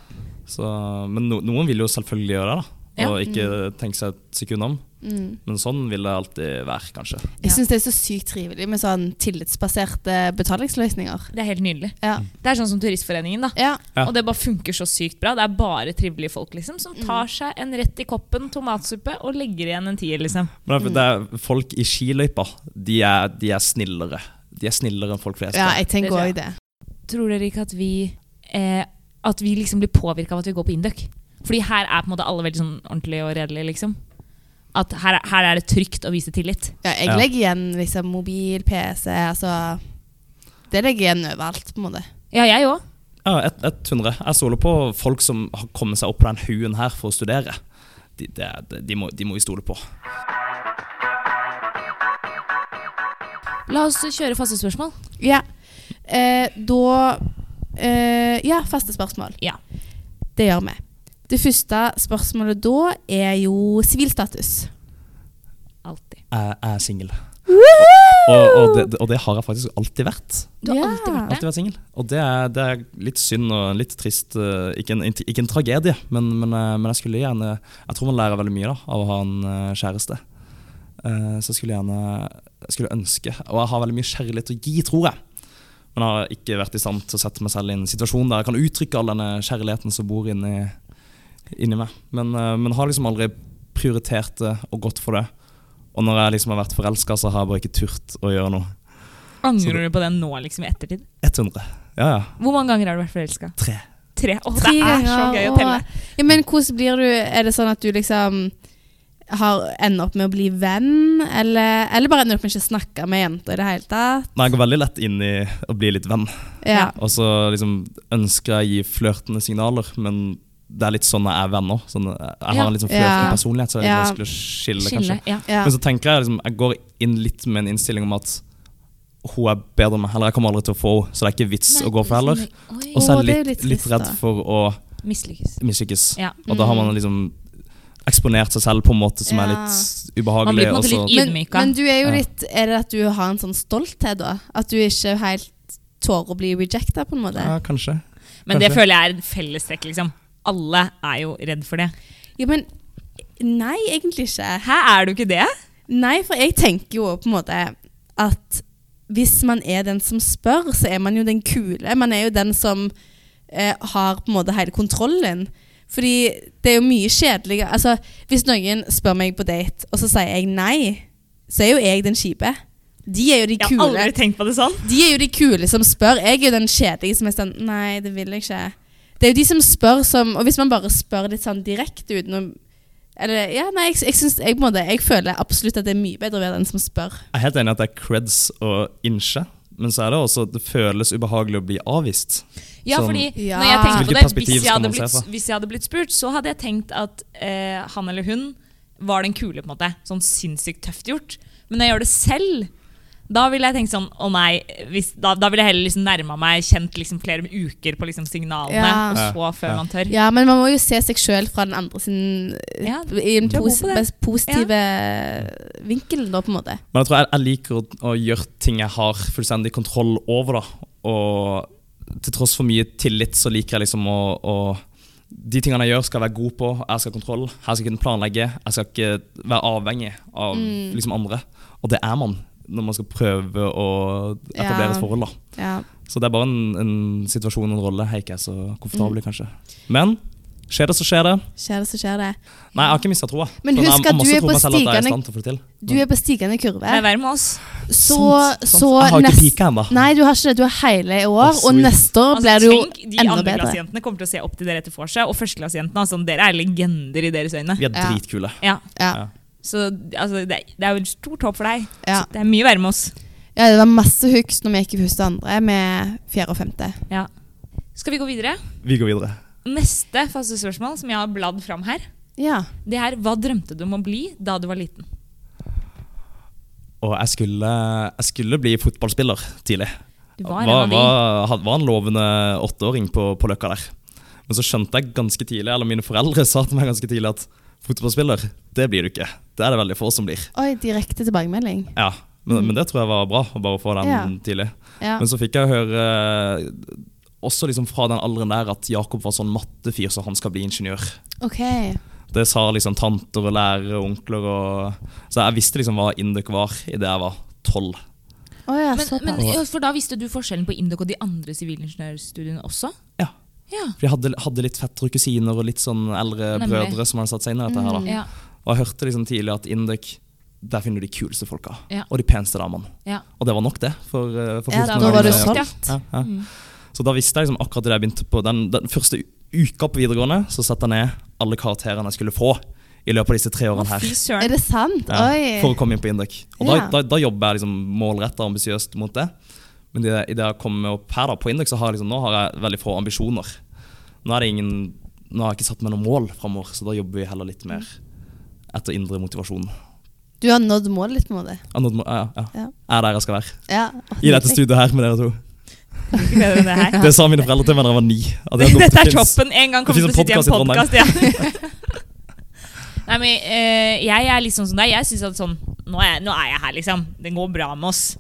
Speaker 3: Så, men no, noen vil jo selvfølgelig gjøre det, da.
Speaker 2: Ja. Mm.
Speaker 3: Og ikke tenke seg et sekund om.
Speaker 1: Mm.
Speaker 3: Men sånn vil det alltid være, kanskje.
Speaker 2: Ja.
Speaker 1: Jeg syns det er så sykt trivelig med sånn tillitsbaserte betalingsløsninger.
Speaker 2: Det er helt nydelig.
Speaker 1: Ja.
Speaker 2: Det er sånn som Turistforeningen, da.
Speaker 1: ja.
Speaker 3: Ja.
Speaker 2: Og det bare funker så sykt bra. Det er bare trivelige folk liksom, som tar seg en rett i koppen tomatsuppe og legger igjen en tier. liksom.
Speaker 3: Men det er- det er, folk i skiløypa, de er, de er snillere. De er snillere enn folk flest.
Speaker 1: Ja,
Speaker 3: er.
Speaker 1: jeg
Speaker 2: Det
Speaker 1: tenker
Speaker 2: tror
Speaker 1: òg
Speaker 2: jeg.
Speaker 1: det.
Speaker 2: Tror dere ikke at vi, eh, at vi liksom blir påvirka av at vi går på Induc? Fordi her er på en måte alle veldig sånn ordentlige og redelige. liksom. At her, er- her er det trygt å vise tillit.
Speaker 1: Ja, jeg
Speaker 3: Ja.
Speaker 1: legger igjen liksom, mobil, PC, altså Det legger jeg igjen overalt, på en måte.
Speaker 2: Ja, jeg òg.
Speaker 3: Ja, et, 100. Jeg stoler på folk som har kommet seg opp på den haugen her for å studere. De, det er- de, de, må, de må vi stole på.
Speaker 2: La oss kjøre faste spørsmål.
Speaker 1: Ja. Eh, da eh, Ja, faste spørsmål.
Speaker 2: Ja.
Speaker 1: Det gjør vi. Det første spørsmålet da er jo sivilstatus.
Speaker 2: Alltid.
Speaker 3: Jeg, jeg er singel. Og, og, det, og det har jeg faktisk alltid vært.
Speaker 2: Du har
Speaker 1: Ja.
Speaker 2: alltid vært det.
Speaker 3: Alltid vært singel. Og det er, det er litt synd og en litt trist eh, Ikke en, ikke en tragedie, men, men, eh, men jeg skulle gjerne Jeg tror man lærer veldig mye da, av å ha en eh, kjæreste. Eh, Så jeg skulle gjerne jeg skulle ønske Og jeg har veldig mye kjærlighet å gi, tror jeg. Men jeg har ikke vært i stand til å sette meg selv i en situasjon der jeg kan uttrykke all denne kjærligheten som bor inni, inni meg. Men, eh, men har liksom aldri prioritert det og gått for det. Og når jeg liksom har vært forelska, så har jeg bare ikke turt å gjøre noe.
Speaker 2: Angrer du på den nå, liksom, i ettertid?
Speaker 3: 100. Ja, ja.
Speaker 2: Hvor mange ganger har du vært forelska?
Speaker 3: Tre.
Speaker 2: Tre. Åh,
Speaker 1: Tre
Speaker 2: det er så
Speaker 1: ganger,
Speaker 2: gøy å
Speaker 1: åh.
Speaker 2: telle.
Speaker 1: Ja, men hvordan blir du Er det sånn at du liksom har, ender opp med å bli venn, eller, eller bare ender opp med ikke å snakke med jenter i det hele tatt?
Speaker 3: Nei, jeg går veldig lett inn i å bli litt venn.
Speaker 1: Ja.
Speaker 3: Og så liksom ønsker jeg å gi flørtende signaler, men det er litt sånn jeg er venn òg. Sånn, jeg jeg har
Speaker 2: Ja.
Speaker 3: en litt sånn
Speaker 1: Ja.
Speaker 3: flørtende personlighet, så det er litt
Speaker 1: Ja.
Speaker 3: vanskelig å skille,
Speaker 2: Skille.
Speaker 3: kanskje.
Speaker 2: Ja.
Speaker 1: Ja.
Speaker 3: Men så tenker jeg liksom, jeg går inn litt med en innstilling om at hun er bedre enn meg, eller jeg kommer aldri til å få henne, så det er ikke vits å gå for heller.
Speaker 2: liksom,
Speaker 3: Og så er
Speaker 1: Å, det er jo
Speaker 3: jeg litt,
Speaker 1: litt
Speaker 3: litt
Speaker 1: trist,
Speaker 3: redd
Speaker 1: da.
Speaker 3: for å
Speaker 2: Mislykkes.
Speaker 3: mislykkes.
Speaker 2: Ja.
Speaker 3: Og da har man liksom eksponert seg selv på en måte som er
Speaker 1: Ja.
Speaker 2: Man
Speaker 3: litt
Speaker 2: blir på
Speaker 3: ubehagelig.
Speaker 2: en
Speaker 3: og
Speaker 2: måte
Speaker 3: så-
Speaker 2: litt
Speaker 1: Men,
Speaker 2: Ydmyka.
Speaker 1: men du er jo
Speaker 3: Ja.
Speaker 1: litt Er det at du har en sånn stolthet, da? At du ikke helt tør å bli rejecta, på en måte?
Speaker 3: Ja, kanskje.
Speaker 2: Men det
Speaker 3: Kanskje.
Speaker 2: føler jeg er et fellestrekk, liksom. Alle er jo redd for det.
Speaker 1: Ja, men Nei, egentlig ikke.
Speaker 2: Hæ, er du ikke det?
Speaker 1: Nei, for jeg tenker jo på en måte at hvis man er den som spør, så er man jo den kule. Man er jo den som eh, har på en måte hele kontrollen. Fordi det er jo mye kjedeligere Altså, hvis noen spør meg på date, og så sier jeg nei, så er jo jeg den kjipe. De er jo de
Speaker 2: Jeg har
Speaker 1: kule.
Speaker 2: aldri tenkt på det sånn.
Speaker 1: De er jo de kule som spør. Jeg er jo den kjedelige som er sånn Nei, det vil jeg ikke. Det er jo de som spør som Og hvis man bare spør litt sånn direkte uten å eller, ja, nei, jeg, jeg, syns- jeg, på en måte, jeg føler absolutt at det er mye bedre å være den som spør.
Speaker 3: Jeg er helt enig i at det er creds å innse, men så er det også at det føles ubehagelig å bli avvist.
Speaker 2: Ja,
Speaker 3: Sånn-
Speaker 2: fordi
Speaker 1: Ja.
Speaker 2: når jeg tenker på
Speaker 3: Hvilket
Speaker 2: det, hvis
Speaker 3: perspektiv
Speaker 2: jeg,
Speaker 3: skal
Speaker 2: hadde
Speaker 3: man se
Speaker 2: blitt,
Speaker 3: fra?
Speaker 2: hvis jeg hadde blitt spurt, så hadde jeg tenkt at eh, han eller hun var den kule, på en måte. Sånn sinnssykt tøft gjort. Men når jeg gjør det selv, da ville jeg tenkt sånn Å nei. Hvis, da, da ville jeg heller liksom nærma meg, kjent liksom flere uker på liksom signalene,
Speaker 1: Ja.
Speaker 2: og så før
Speaker 3: Ja.
Speaker 2: man tør.
Speaker 1: Ja, men man må jo se seg sjøl fra den andre sin
Speaker 2: Ja,
Speaker 1: I en
Speaker 2: det er
Speaker 1: pos
Speaker 2: god på det.
Speaker 1: mest positive vinkel, da, på en måte.
Speaker 3: Men jeg tror jeg, jeg liker å, å gjøre ting jeg har fullstendig kontroll over, da. Og til tross for mye tillit, så liker jeg liksom å, å De tingene jeg gjør, skal jeg være god på. Jeg skal ha kontroll. Jeg skal kunne planlegge. Jeg skal ikke være avhengig av
Speaker 2: Mm.
Speaker 3: liksom andre. Og det er man når man skal prøve å etablere
Speaker 1: Ja.
Speaker 3: et forhold, da.
Speaker 1: Ja.
Speaker 3: Så det er bare en, en situasjon og en rolle jeg ikke er så komfortabel
Speaker 1: Mm.
Speaker 3: i, kanskje. Men skjer det, så skjer det.
Speaker 1: Skjer det, så skjer det.
Speaker 3: Nei, jeg har ikke mista troa.
Speaker 1: Men
Speaker 3: Sånn, jeg
Speaker 1: husk at
Speaker 3: har masse
Speaker 1: du er
Speaker 3: tro
Speaker 1: på
Speaker 3: meg selv at jeg
Speaker 1: stigende-
Speaker 3: i stand til å få det til.
Speaker 1: Du er på stigende kurve.
Speaker 2: Det er verre med oss.
Speaker 1: Så,
Speaker 2: sånn-
Speaker 3: Sant, sant.
Speaker 1: så
Speaker 3: sånn- Jeg har ikke
Speaker 1: nest-
Speaker 3: pika ennå.
Speaker 1: Nei, du har ikke det. Du har hele i år,
Speaker 3: Å,
Speaker 1: og
Speaker 3: sweet.
Speaker 1: neste år
Speaker 2: Altså,
Speaker 1: blir det jo
Speaker 2: tenk,
Speaker 1: enda
Speaker 2: de
Speaker 1: bedre.
Speaker 2: andreklassejentene kommer til å se opp til dere etter for seg, og førsteklassejentene altså, dere er legender i deres øyne.
Speaker 3: Vi er
Speaker 1: Ja.
Speaker 3: dritkule.
Speaker 2: Ja,
Speaker 1: Ja.
Speaker 2: så altså, det, er- det er jo et stort håp for deg.
Speaker 1: Ja.
Speaker 2: Det er mye verre med oss.
Speaker 1: ja, det var masse hooks når vi gikk i første og andre med fjerde og femte.
Speaker 2: Ja. Skal vi gå videre?
Speaker 3: Vi går videre.
Speaker 2: Neste faste spørsmål som jeg har bladd fram her,
Speaker 1: Ja.
Speaker 2: det er hva drømte du om å bli da du var liten?
Speaker 3: Og jeg skulle, jeg skulle bli fotballspiller tidlig.
Speaker 2: Du var
Speaker 3: Var,
Speaker 2: en av
Speaker 3: var,
Speaker 2: de.
Speaker 3: had- var en lovende åtteåring på, på Løkka der. Men så skjønte jeg ganske tidlig, eller mine foreldre (laughs) sa til meg ganske tidlig, at fotballspiller, det blir du ikke. Det er det veldig få som blir.
Speaker 1: Oi, direkte tilbakemelding.
Speaker 3: Ja, men, men det tror jeg var bra, å bare få den
Speaker 1: Mm. Ja.
Speaker 3: tidlig.
Speaker 1: Ja.
Speaker 3: Men så fikk jeg høre eh, også liksom fra den alderen der at Jakob var sånn mattefyr, så han skal bli ingeniør.
Speaker 1: Ok.
Speaker 3: Det sa liksom tanter og lærere og onkler. Og, så jeg visste liksom hva Induk var idet jeg var tolv.
Speaker 1: Å ja,
Speaker 2: Men, men,
Speaker 1: såpass.
Speaker 2: ja, for da visste du forskjellen på Indok og de andre sivilingeniørstudiene også?
Speaker 3: Ja.
Speaker 2: Ja.
Speaker 3: For jeg hadde, hadde litt fettere og kusiner og litt sånn eldre
Speaker 2: Nemlig. Mm,
Speaker 3: brødre som hadde satt seg inn i dette.
Speaker 1: Mm.
Speaker 3: her da.
Speaker 2: Ja,
Speaker 3: Og jeg hørte liksom tidlig at Induk, der finner du de kuleste folka.
Speaker 2: Ja.
Speaker 3: Og de peneste damene.
Speaker 2: ja.
Speaker 3: Og det var nok, det. For, eh, for
Speaker 1: Ja, da
Speaker 3: 14 år
Speaker 1: var du
Speaker 3: gamle
Speaker 2: sånn.
Speaker 3: Jakob.
Speaker 1: solgt.
Speaker 3: Ja, ja.
Speaker 2: Mm.
Speaker 3: Så da visste jeg liksom akkurat det jeg begynte på. Den, den første uka på videregående så satte jeg ned alle karakterene jeg skulle få i løpet av disse tre
Speaker 2: Å,
Speaker 3: årene her.
Speaker 2: fy
Speaker 1: Er
Speaker 2: søren.
Speaker 1: det sant?
Speaker 3: Ja, for
Speaker 1: Oi.
Speaker 3: å komme inn på Induk. Og da,
Speaker 1: Ja.
Speaker 3: da, da jobber jeg liksom målrettet og ambisiøst mot det. Men det- i det jeg kommer opp her da, på Induk, så har jeg liksom, nå har jeg veldig få ambisjoner. Nå, er det ingen, nå har jeg ikke satt meg noen mål framover, så da jobber vi heller litt mer etter indre motivasjon.
Speaker 1: Du har nådd målet litt, på en måte.
Speaker 3: Jeg, nådde må- ja, ja.
Speaker 1: Ja.
Speaker 3: jeg er der jeg skal være.
Speaker 1: Ja.
Speaker 3: I dette studioet her med dere to.
Speaker 2: Ikke bedre enn det her.
Speaker 3: Det sa mine foreldre til meg da jeg var ni. at jeg kom til
Speaker 2: (laughs) Dette er
Speaker 3: Finns.
Speaker 2: toppen. En gang
Speaker 3: Det
Speaker 2: kommer til å
Speaker 3: finnes
Speaker 2: sitte i en
Speaker 3: en
Speaker 2: (laughs) podkast. Ja. Nei, men eh, jeg er litt sånn som deg. Jeg syns at sånn nå er, jeg- nå er jeg her, liksom. Det går bra med oss.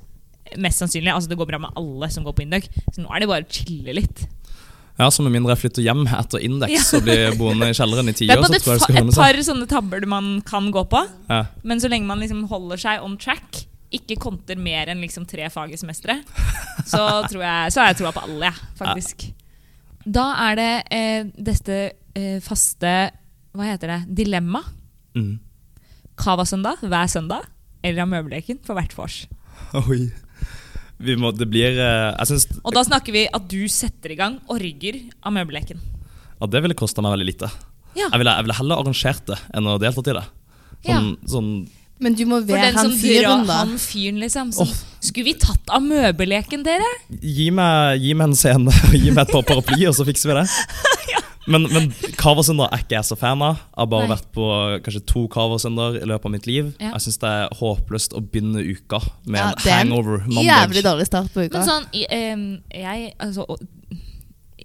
Speaker 2: Mest sannsynlig. Altså, det går bra med alle som går på Induc. Så nå er det bare å chille litt.
Speaker 3: Ja, så med mindre jeg flytter hjem etter
Speaker 2: Ja.
Speaker 3: Index og blir boende i kjelleren i ti
Speaker 2: (laughs) Det er
Speaker 3: år,
Speaker 2: på en
Speaker 3: så
Speaker 2: måte
Speaker 3: tror jeg
Speaker 2: et,
Speaker 3: det skal
Speaker 2: fa- et
Speaker 3: ordne seg.
Speaker 2: par sånne tabber man kan gå på.
Speaker 3: Ja.
Speaker 2: Men så lenge man liksom holder seg on track, ikke konter mer enn liksom tre fag i semesteret, så, tror jeg, så har jeg troa på alle, jeg, faktisk. Da er det eh, dette eh, faste Hva heter det? Dilemma.
Speaker 3: Mm.
Speaker 2: Cava-søndag hver søndag. Eller Amøbeleken for hvert vors.
Speaker 3: Oi. Vi må, det blir eh, Jeg syns
Speaker 2: Og da snakker vi at du setter i gang og rygger Amøbeleken.
Speaker 3: at det ville kosta meg veldig lite.
Speaker 2: Ja.
Speaker 3: Jeg ville, jeg ville heller arrangert det enn å deltatt i det. Sånn, sånn
Speaker 1: Men du må
Speaker 2: For
Speaker 1: være
Speaker 2: den
Speaker 1: han
Speaker 2: som fyren,
Speaker 1: fyren, da.
Speaker 2: han fyren, liksom. Som,
Speaker 3: Åh.
Speaker 2: Skulle vi tatt Amøbeleken, dere?
Speaker 3: gi, meg, gi meg en scene (laughs) og gi meg et par paraplyer, så fikser vi det. Men, men Kaversøndag er ikke jeg så fan av. Jeg har bare
Speaker 2: Nei.
Speaker 3: vært på kanskje to Kaversøndager i løpet av mitt liv.
Speaker 2: Ja.
Speaker 3: Jeg syns det er håpløst å begynne uka med
Speaker 1: Ja, det
Speaker 3: en
Speaker 1: er en
Speaker 3: hangover
Speaker 1: Jævlig
Speaker 3: mandag.
Speaker 1: dårlig start på uka.
Speaker 2: Men sånn, i- em, jeg, altså, og-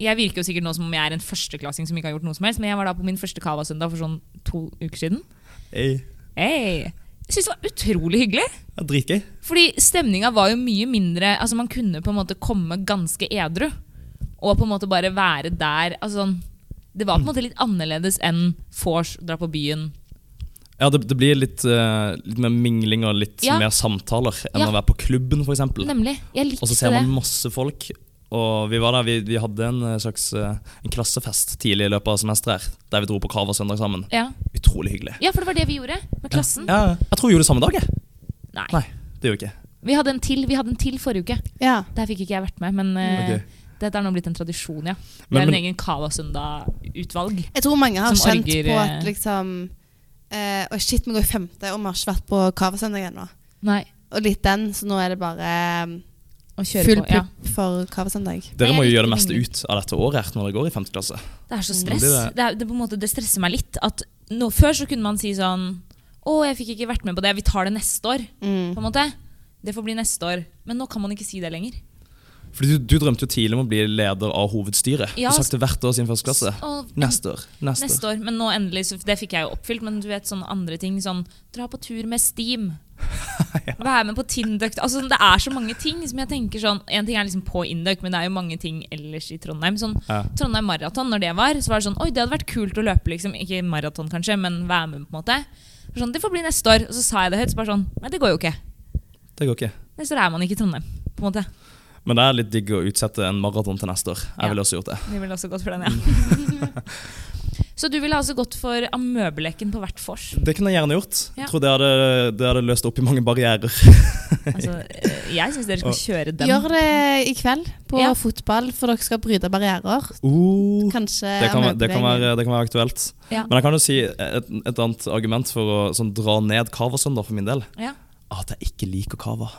Speaker 2: jeg virker jo sikkert nå som om jeg er en førsteklassing som ikke har gjort noe som helst, men jeg var da på min første Cava-søndag for sånn to uker siden.
Speaker 3: Hey,
Speaker 2: Hey. Jeg synes det var utrolig hyggelig.
Speaker 3: det er dritgøy.
Speaker 2: Fordi stemninga var jo mye mindre Altså Man kunne på en måte komme ganske edru. Og på en måte bare være der. Altså sånn, det var på en måte litt annerledes enn vors, dra på byen.
Speaker 3: Ja, det, det blir litt, eh, litt mer mingling og litt
Speaker 2: Ja.
Speaker 3: mer samtaler enn
Speaker 2: Ja.
Speaker 3: å være på klubben, f.eks.
Speaker 2: Nemlig. Jeg likte
Speaker 3: Og så ser man
Speaker 2: det.
Speaker 3: masse folk. Og vi var der, vi, vi hadde en eh, slags eh, en klassefest tidlig i løpet av semesteret her, der vi dro på Krav og Søndag sammen.
Speaker 2: Ja.
Speaker 3: Utrolig hyggelig.
Speaker 2: ja, for det var det vi gjorde med klassen.
Speaker 3: Ja, jeg tror vi gjorde det samme dag, jeg.
Speaker 2: Nei.
Speaker 3: Nei, det gjorde vi ikke.
Speaker 2: Vi hadde en til, vi hadde en til forrige uke.
Speaker 1: ja.
Speaker 2: Der fikk ikke jeg vært med, men eh,
Speaker 3: Ok.
Speaker 2: dette er nå blitt en tradisjon, ja. Vi
Speaker 3: Men-
Speaker 2: har en
Speaker 3: men-
Speaker 2: egen Cava-søndag-utvalg.
Speaker 1: Jeg tror mange har
Speaker 2: Som
Speaker 1: kjent
Speaker 2: orger,
Speaker 1: på
Speaker 2: eh,
Speaker 1: at liksom eh, Å, shit, vi går i femte, og vi har ikke vært på Kavasøndag ennå.
Speaker 2: Nei,
Speaker 1: Og litt den, så nå er det bare eh,
Speaker 2: å kjøre
Speaker 1: full
Speaker 2: på. Ja.
Speaker 1: pupp for Kavasøndag.
Speaker 3: Dere
Speaker 2: Nei,
Speaker 3: må jo
Speaker 2: jeg
Speaker 3: gjøre det
Speaker 2: likte
Speaker 3: meste ut av dette året her når dere går i 5. klasse.
Speaker 2: Det er så
Speaker 3: Men
Speaker 2: stress.
Speaker 3: Mm. det
Speaker 2: Det,
Speaker 3: er-
Speaker 2: er, det, er på en måte, det stresser meg litt. At nå, før så kunne man si sånn Å, jeg fikk ikke vært med på det. Vi tar det neste år.
Speaker 1: Mm.
Speaker 2: På en måte. Det får bli neste år. Men nå kan man ikke si det lenger.
Speaker 3: Fordi du, du drømte jo tidlig om å bli leder av hovedstyret.
Speaker 2: Ja,
Speaker 3: Du har sagt det hvert år siden første klasse.
Speaker 2: Og,
Speaker 3: Neste år. Neste,
Speaker 2: neste
Speaker 3: år.
Speaker 2: år. Men nå endelig, så det fikk jeg jo oppfylt. Men du vet sånne andre ting sånn Dra på tur med Steam. Vær med på Tinduck. Altså, sånn, det er så mange ting som jeg tenker sånn En ting er liksom på Induck, men det er jo mange ting ellers i Trondheim. Sånn
Speaker 3: Ja.
Speaker 2: Trondheim Maraton, når det var, så var det sånn Oi, det hadde vært kult å løpe, liksom. Ikke maraton, kanskje, men være med, på en måte. Så Sånn, det får bli neste år. Og så sa jeg det høyt, så bare sånn Nei, det går jo ikke.
Speaker 3: Det går ikke.
Speaker 2: Neste år er man ikke i Trondheim, på en måte.
Speaker 3: Men det er litt digg å utsette en maraton til neste år.
Speaker 2: Ja.
Speaker 3: Jeg ville også gjort det.
Speaker 2: Vi ville også gått for den, ja. (laughs) så du ville altså gått for amøbeleken på hvert vors?
Speaker 3: Det kunne jeg gjerne gjort.
Speaker 2: Ja.
Speaker 3: Jeg tror det hadde, det hadde løst opp i mange barrierer.
Speaker 2: Altså, eh, jeg syns dere skal kjøre den.
Speaker 1: Gjør det i kveld på
Speaker 2: Ja.
Speaker 1: fotball, for dere skal bryte barrierer.
Speaker 3: Uh,
Speaker 1: Kanskje
Speaker 3: det, kan, være- det, kan
Speaker 1: møbelgjengen.
Speaker 3: være, det kan være aktuelt.
Speaker 2: Ja.
Speaker 3: Men jeg kan jo si et, et annet argument for å sånn, dra ned Kava-søndag for min del. Ah,
Speaker 2: Ja.
Speaker 3: At jeg ikke liker Kava.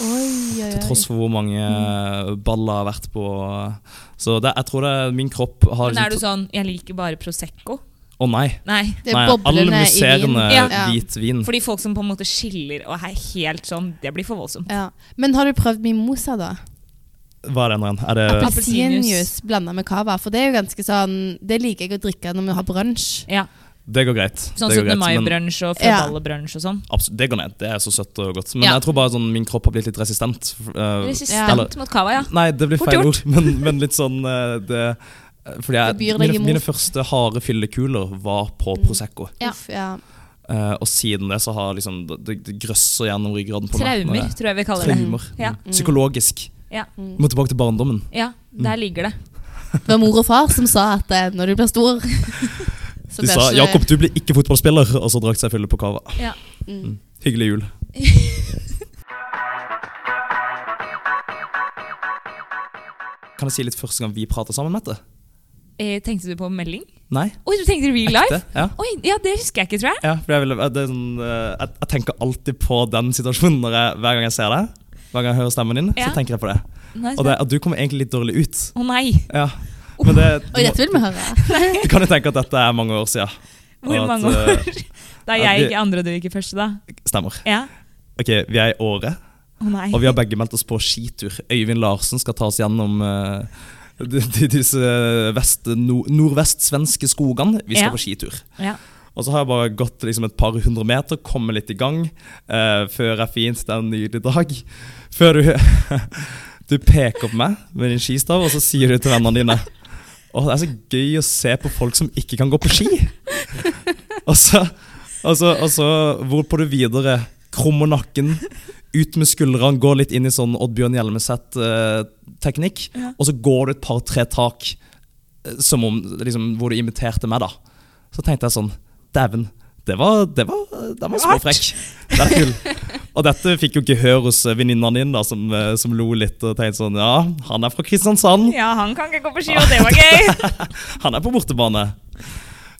Speaker 1: Oi, oi,
Speaker 3: Til
Speaker 2: Eh.
Speaker 1: oi.
Speaker 3: tross for hvor mange
Speaker 2: Mm.
Speaker 3: eh, baller jeg har vært på. Så det, jeg tror det, min kropp har
Speaker 2: Men er du sånn 'jeg liker bare Prosecco'?
Speaker 3: Å nei.
Speaker 2: Nei.
Speaker 1: Det
Speaker 3: nei
Speaker 1: er boblene i vin.
Speaker 3: analyserende
Speaker 2: Ja.
Speaker 3: hvit vin.
Speaker 2: Fordi folk som på en måte skiller og er helt sånn, det blir for voldsomt.
Speaker 1: Ja. Men har du prøvd mimosa, da?
Speaker 3: Eh. Hva er det nå igjen? Er det
Speaker 1: Appelsinjuice blanda med cava. For det er jo ganske sånn Det liker jeg å drikke når vi har brunsj.
Speaker 2: Ja.
Speaker 3: Det går greit.
Speaker 2: Sånn
Speaker 3: det går
Speaker 2: 17.
Speaker 3: greit, men-
Speaker 2: mai-brunsj og fødalebrunsj og sånn.
Speaker 3: Absolutt, det går ned. Det er så søtt og godt. Men
Speaker 2: Ja.
Speaker 3: jeg tror bare sånn, min kropp har blitt litt resistent. eh,
Speaker 2: Resistent
Speaker 3: eller-
Speaker 2: mot cava, ja.
Speaker 3: Nei, det blir
Speaker 2: Fort
Speaker 3: feil ord, men, men litt sånn eh, det, eh, Fordi jeg,
Speaker 1: Det byr deg
Speaker 3: mine,
Speaker 1: imot.
Speaker 3: mine første harde fyllekuler var på Prosecco.
Speaker 1: Ja.
Speaker 2: Ja.
Speaker 1: Uff, ja.
Speaker 3: Eh, og siden det så har liksom Det, det grøsser gjennom ryggraden på meg.
Speaker 2: Traumer,
Speaker 3: Når jeg-
Speaker 2: tror jeg vi kaller det.
Speaker 3: Traumer.
Speaker 2: Ja.
Speaker 3: Mm. Psykologisk.
Speaker 2: Ja.
Speaker 3: Må tilbake til barndommen.
Speaker 2: ja,
Speaker 3: Mm.
Speaker 2: der ligger det.
Speaker 1: Mm. Det var mor og far som sa at eh, når du blir stor (laughs) så
Speaker 3: De
Speaker 1: blir
Speaker 3: sa
Speaker 1: ikke-
Speaker 3: 'Jakob, du blir ikke fotballspiller', og så drakk seg fylle på cava.
Speaker 2: Ja.
Speaker 1: Mm.
Speaker 3: Hyggelig jul. Kan jeg si litt første gang vi prater sammen, Mette?
Speaker 2: Eh, tenkte du på melding?
Speaker 3: Nei?
Speaker 2: Oi, du tenkte real life?
Speaker 3: Ekte? Ja.
Speaker 2: Oi, ja, det husker jeg ikke, tror jeg.
Speaker 3: Ja, for jeg, vil, det er sånn, eh, jeg, jeg tenker alltid på den situasjonen når jeg, hver gang jeg ser deg. Hver gang jeg hører stemmen din,
Speaker 2: Ja.
Speaker 3: så tenker jeg på det.
Speaker 2: Nei,
Speaker 3: Og
Speaker 2: så-
Speaker 3: det, at du kommer egentlig litt dårlig ut.
Speaker 2: Å nei!
Speaker 3: Ja. Men det,
Speaker 1: Oi, dette vil vi høre.
Speaker 3: du (laughs) kan jo tenke at dette er mange år siden. og
Speaker 2: Hvor
Speaker 3: at,
Speaker 2: mange
Speaker 3: eh,
Speaker 2: år? Da
Speaker 3: ja,
Speaker 2: jeg
Speaker 3: det-
Speaker 2: gikk i andre, og du gikk i første, da?
Speaker 3: Stemmer.
Speaker 2: Ja.
Speaker 3: Ok, Vi er i året,
Speaker 2: Å nei.
Speaker 3: og vi har begge meldt oss på skitur. Øyvind Larsen skal ta oss gjennom eh, de, de, disse vest, nord, eh, nordvestsvenske skogene. Vi skal
Speaker 2: Ja.
Speaker 3: på skitur.
Speaker 2: Ja.
Speaker 3: Og så har jeg bare gått liksom et par hundre meter, kommet litt i gang, eh, før jeg fint det er en nydelig dag. Før du, (laughs) du peker på meg med din skistav, og så sier du til vennene dine Å, det er så gøy å se på folk som ikke kan gå på ski.
Speaker 2: (laughs)
Speaker 3: Og så, og så, og så hvorpå du videre krummer nakken, ut med skuldrene, går litt inn i sånn Oddbjørn Hjelmeset-teknikk, og så går du et par-tre tak eh, som om, liksom, hvor du imiterte meg, da. Så tenkte jeg sånn Dæven, det var, det var, den var småfrekk. Den er kul. Og dette fikk jo gehør hos eh, venninnene dine, da, som, eh, som lo litt og tenkte sånn Ja, han er fra Kristiansand.
Speaker 2: Ja, han kan ikke gå på ski, og det var gøy!
Speaker 3: Han er på bortebane.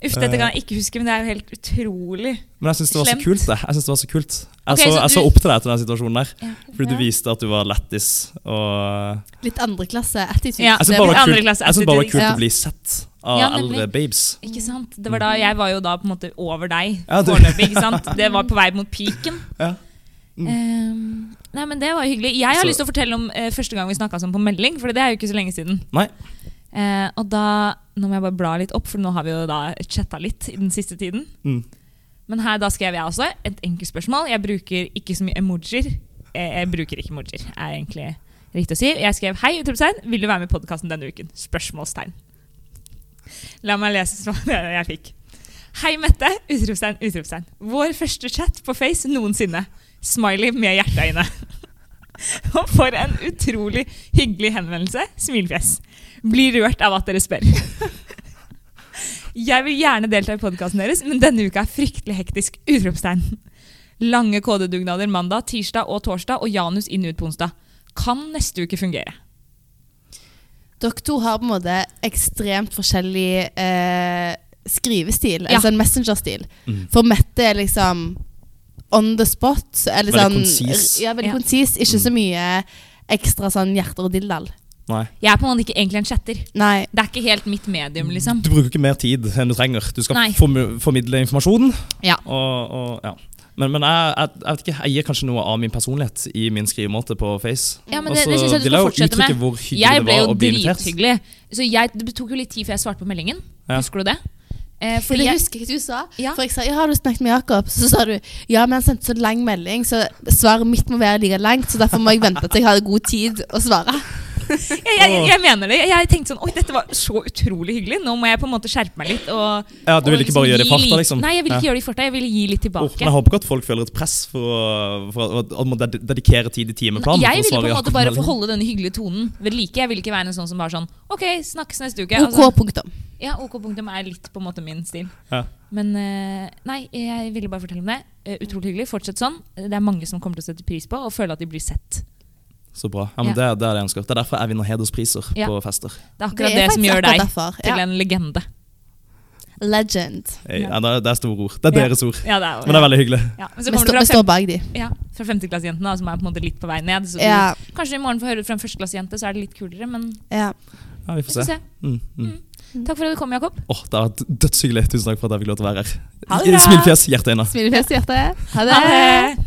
Speaker 2: Uff, dette
Speaker 3: Eh.
Speaker 2: kan jeg ikke huske, men det er jo helt utrolig.
Speaker 3: Men jeg syns det var så
Speaker 2: Slemt.
Speaker 3: kult. det. Jeg synes det var så kult. Jeg,
Speaker 2: Ok,
Speaker 3: så,
Speaker 2: så
Speaker 3: jeg
Speaker 2: du-
Speaker 3: så opp til deg etter den situasjonen der. Fordi
Speaker 2: Ja.
Speaker 3: du viste at du var lættis. Og
Speaker 1: Litt andreklasse-attitude.
Speaker 2: Ja, det
Speaker 3: jeg syns Altså, bare det
Speaker 2: blir
Speaker 3: var kult,
Speaker 2: andreklasse
Speaker 3: jeg synes bare det var
Speaker 2: attitude,
Speaker 3: kult
Speaker 1: ja.
Speaker 3: å bli sett av
Speaker 2: Ja, nemlig.
Speaker 3: eldre babes.
Speaker 2: Ikke sant? Det var da, Jeg var jo da på en måte over deg
Speaker 3: Ja, du-
Speaker 2: foreløpig. ikke sant? Det var på vei mot piken.
Speaker 3: Ja. Mm.
Speaker 2: Ehm, nei, men Det var hyggelig. Jeg har
Speaker 3: Så-
Speaker 2: lyst til å fortelle om eh, første gang vi snakka sånn på melding. For det er jo ikke så lenge siden.
Speaker 3: Nei.
Speaker 2: Eh, og da, Nå må jeg bare bla litt opp, for nå har vi jo da chatta litt i den siste tiden.
Speaker 3: Mm.
Speaker 2: Men her da skrev jeg også et enkelt spørsmål. Jeg bruker ikke så mye emojier. Jeg, jeg bruker ikke emojier, er egentlig riktig å si. Jeg skrev 'Hei, utropstegn. Vil du være med i podkasten denne uken?' Spørsmålstegn. La meg lese svaret (laughs) jeg fikk. Hei, Mette. Utropstegn, utropstegn. Vår første chat på Face noensinne. Smiley med hjerteøyne. Og for en utrolig hyggelig henvendelse. Smilefjes. Blir rørt av at dere spør. Jeg vil gjerne delta i podkasten deres, men denne uka er fryktelig hektisk. Utropstegn. Lange kodedugnader mandag, tirsdag og torsdag, og Janus inn ut på onsdag. Kan neste uke fungere.
Speaker 1: Dere to har på en måte ekstremt forskjellig eh, skrivestil,
Speaker 2: Ja.
Speaker 1: altså en messengerstil.
Speaker 3: Mm.
Speaker 1: For Mette er liksom on the spot. Eller
Speaker 3: Veldig
Speaker 1: sånn,
Speaker 3: konsis. Mm.
Speaker 1: Ja, veldig
Speaker 2: Ja.
Speaker 1: konsis. Ikke så mye ekstra sånn hjerter og dilldall.
Speaker 3: Nei.
Speaker 2: Jeg er på en måte ikke egentlig en chatter.
Speaker 1: Nei.
Speaker 2: Det er ikke helt mitt medium, liksom.
Speaker 3: Du bruker ikke mer tid enn du trenger. Du skal
Speaker 2: Nei.
Speaker 3: form- formidle informasjon.
Speaker 2: Ja.
Speaker 3: Og, og, ja. Men, men jeg, jeg, jeg vet ikke, jeg gir kanskje noe av min personlighet i min skrivemåte på Face.
Speaker 2: Ja, men
Speaker 3: Og
Speaker 2: det,
Speaker 3: så
Speaker 2: det synes jeg du skal
Speaker 3: vil jeg Altså, jo
Speaker 2: fortsette
Speaker 3: uttrykke
Speaker 2: med.
Speaker 3: hvor hyggelig
Speaker 2: Jeg
Speaker 3: det
Speaker 2: ble
Speaker 3: var
Speaker 2: jo
Speaker 3: å bli invitert.
Speaker 2: drithyggelig. Så jeg, det tok jo litt tid før jeg svarte på meldingen.
Speaker 3: Ja.
Speaker 2: Husker du det? Eh,
Speaker 1: For
Speaker 2: fordi
Speaker 1: det
Speaker 2: jeg,
Speaker 1: husker jeg du sa.
Speaker 2: Ja.
Speaker 1: For jeg sa ja, har du snakket med Jakob? Så sa du ja, men han sendte så lang melding, så svaret mitt må være like langt. Så derfor må jeg vente til jeg har god tid å svare.
Speaker 2: jeg, jeg, jeg mener det. Jeg tenkte sånn Oi, dette var så utrolig hyggelig. Nå må jeg på en måte skjerpe meg litt. Og,
Speaker 3: Ja, du
Speaker 2: og
Speaker 3: ville ikke bare gjøre det i
Speaker 2: gi
Speaker 3: farta,
Speaker 2: litt-
Speaker 3: liksom?
Speaker 2: Nei, jeg ville
Speaker 3: Ja.
Speaker 2: ikke gjøre det i farta. Jeg ville gi litt
Speaker 3: Åh, men
Speaker 2: tilbake.
Speaker 3: jeg håper ikke at folk føler et press for å, for å, at man ded- dedikere tid i timeplanen.
Speaker 2: jeg ville på en
Speaker 3: for å svare
Speaker 2: måte
Speaker 3: Jakob
Speaker 2: bare
Speaker 3: Melding.
Speaker 2: få holde denne hyggelige tonen ved like. Jeg ville ikke være en sånn som bare sånn OK, snakkes neste uke.
Speaker 1: OK,
Speaker 2: Altså,
Speaker 1: punktum.
Speaker 2: ja, OK punktum er litt på en måte min stil.
Speaker 3: Ja.
Speaker 2: Men eh, nei, jeg ville bare fortelle om det. Eh, utrolig hyggelig. Fortsett sånn. Det er mange som kommer til å sette pris på og føle at de blir sett.
Speaker 3: Så bra. Ja, men det, det er det jeg ønsker. Det er derfor jeg vinner hederspriser
Speaker 2: Ja.
Speaker 3: på fester.
Speaker 2: Det er akkurat det, som
Speaker 1: faktisk
Speaker 2: gjør
Speaker 1: akkurat
Speaker 2: deg
Speaker 1: derfor.
Speaker 2: til
Speaker 1: Ja.
Speaker 2: en legende.
Speaker 1: Legend.
Speaker 3: Eh,
Speaker 2: Ja.
Speaker 3: Ja. Det, er- det er store ord. Det er
Speaker 2: Ja.
Speaker 3: deres ord.
Speaker 2: Ja, det er,
Speaker 3: Men det er veldig hyggelig.
Speaker 2: ja. Men så
Speaker 1: Vi
Speaker 2: kommer
Speaker 1: står,
Speaker 2: det
Speaker 1: vi
Speaker 2: fra,
Speaker 1: står bak de.
Speaker 2: fem, ja, fra femteklassejentene, da, som er på en måte litt på vei ned. Så du,
Speaker 1: Ja.
Speaker 2: Kanskje i morgen får høre det fra en førsteklassejente, så er det litt kulere. Men
Speaker 1: ja.
Speaker 3: Ja,
Speaker 2: vi
Speaker 3: vi
Speaker 2: får
Speaker 3: får
Speaker 2: se.
Speaker 3: se. Mm, mm.
Speaker 2: Takk for at du kom, Jakob.
Speaker 3: Åh, det har vært dødshyggelig. Tusen takk for at jeg fikk lov til å være her.
Speaker 2: Ha det bra.
Speaker 3: Smilfjes, hjerteøyne.
Speaker 1: Smilefjes i hjertet. Ha det.
Speaker 2: Ha det!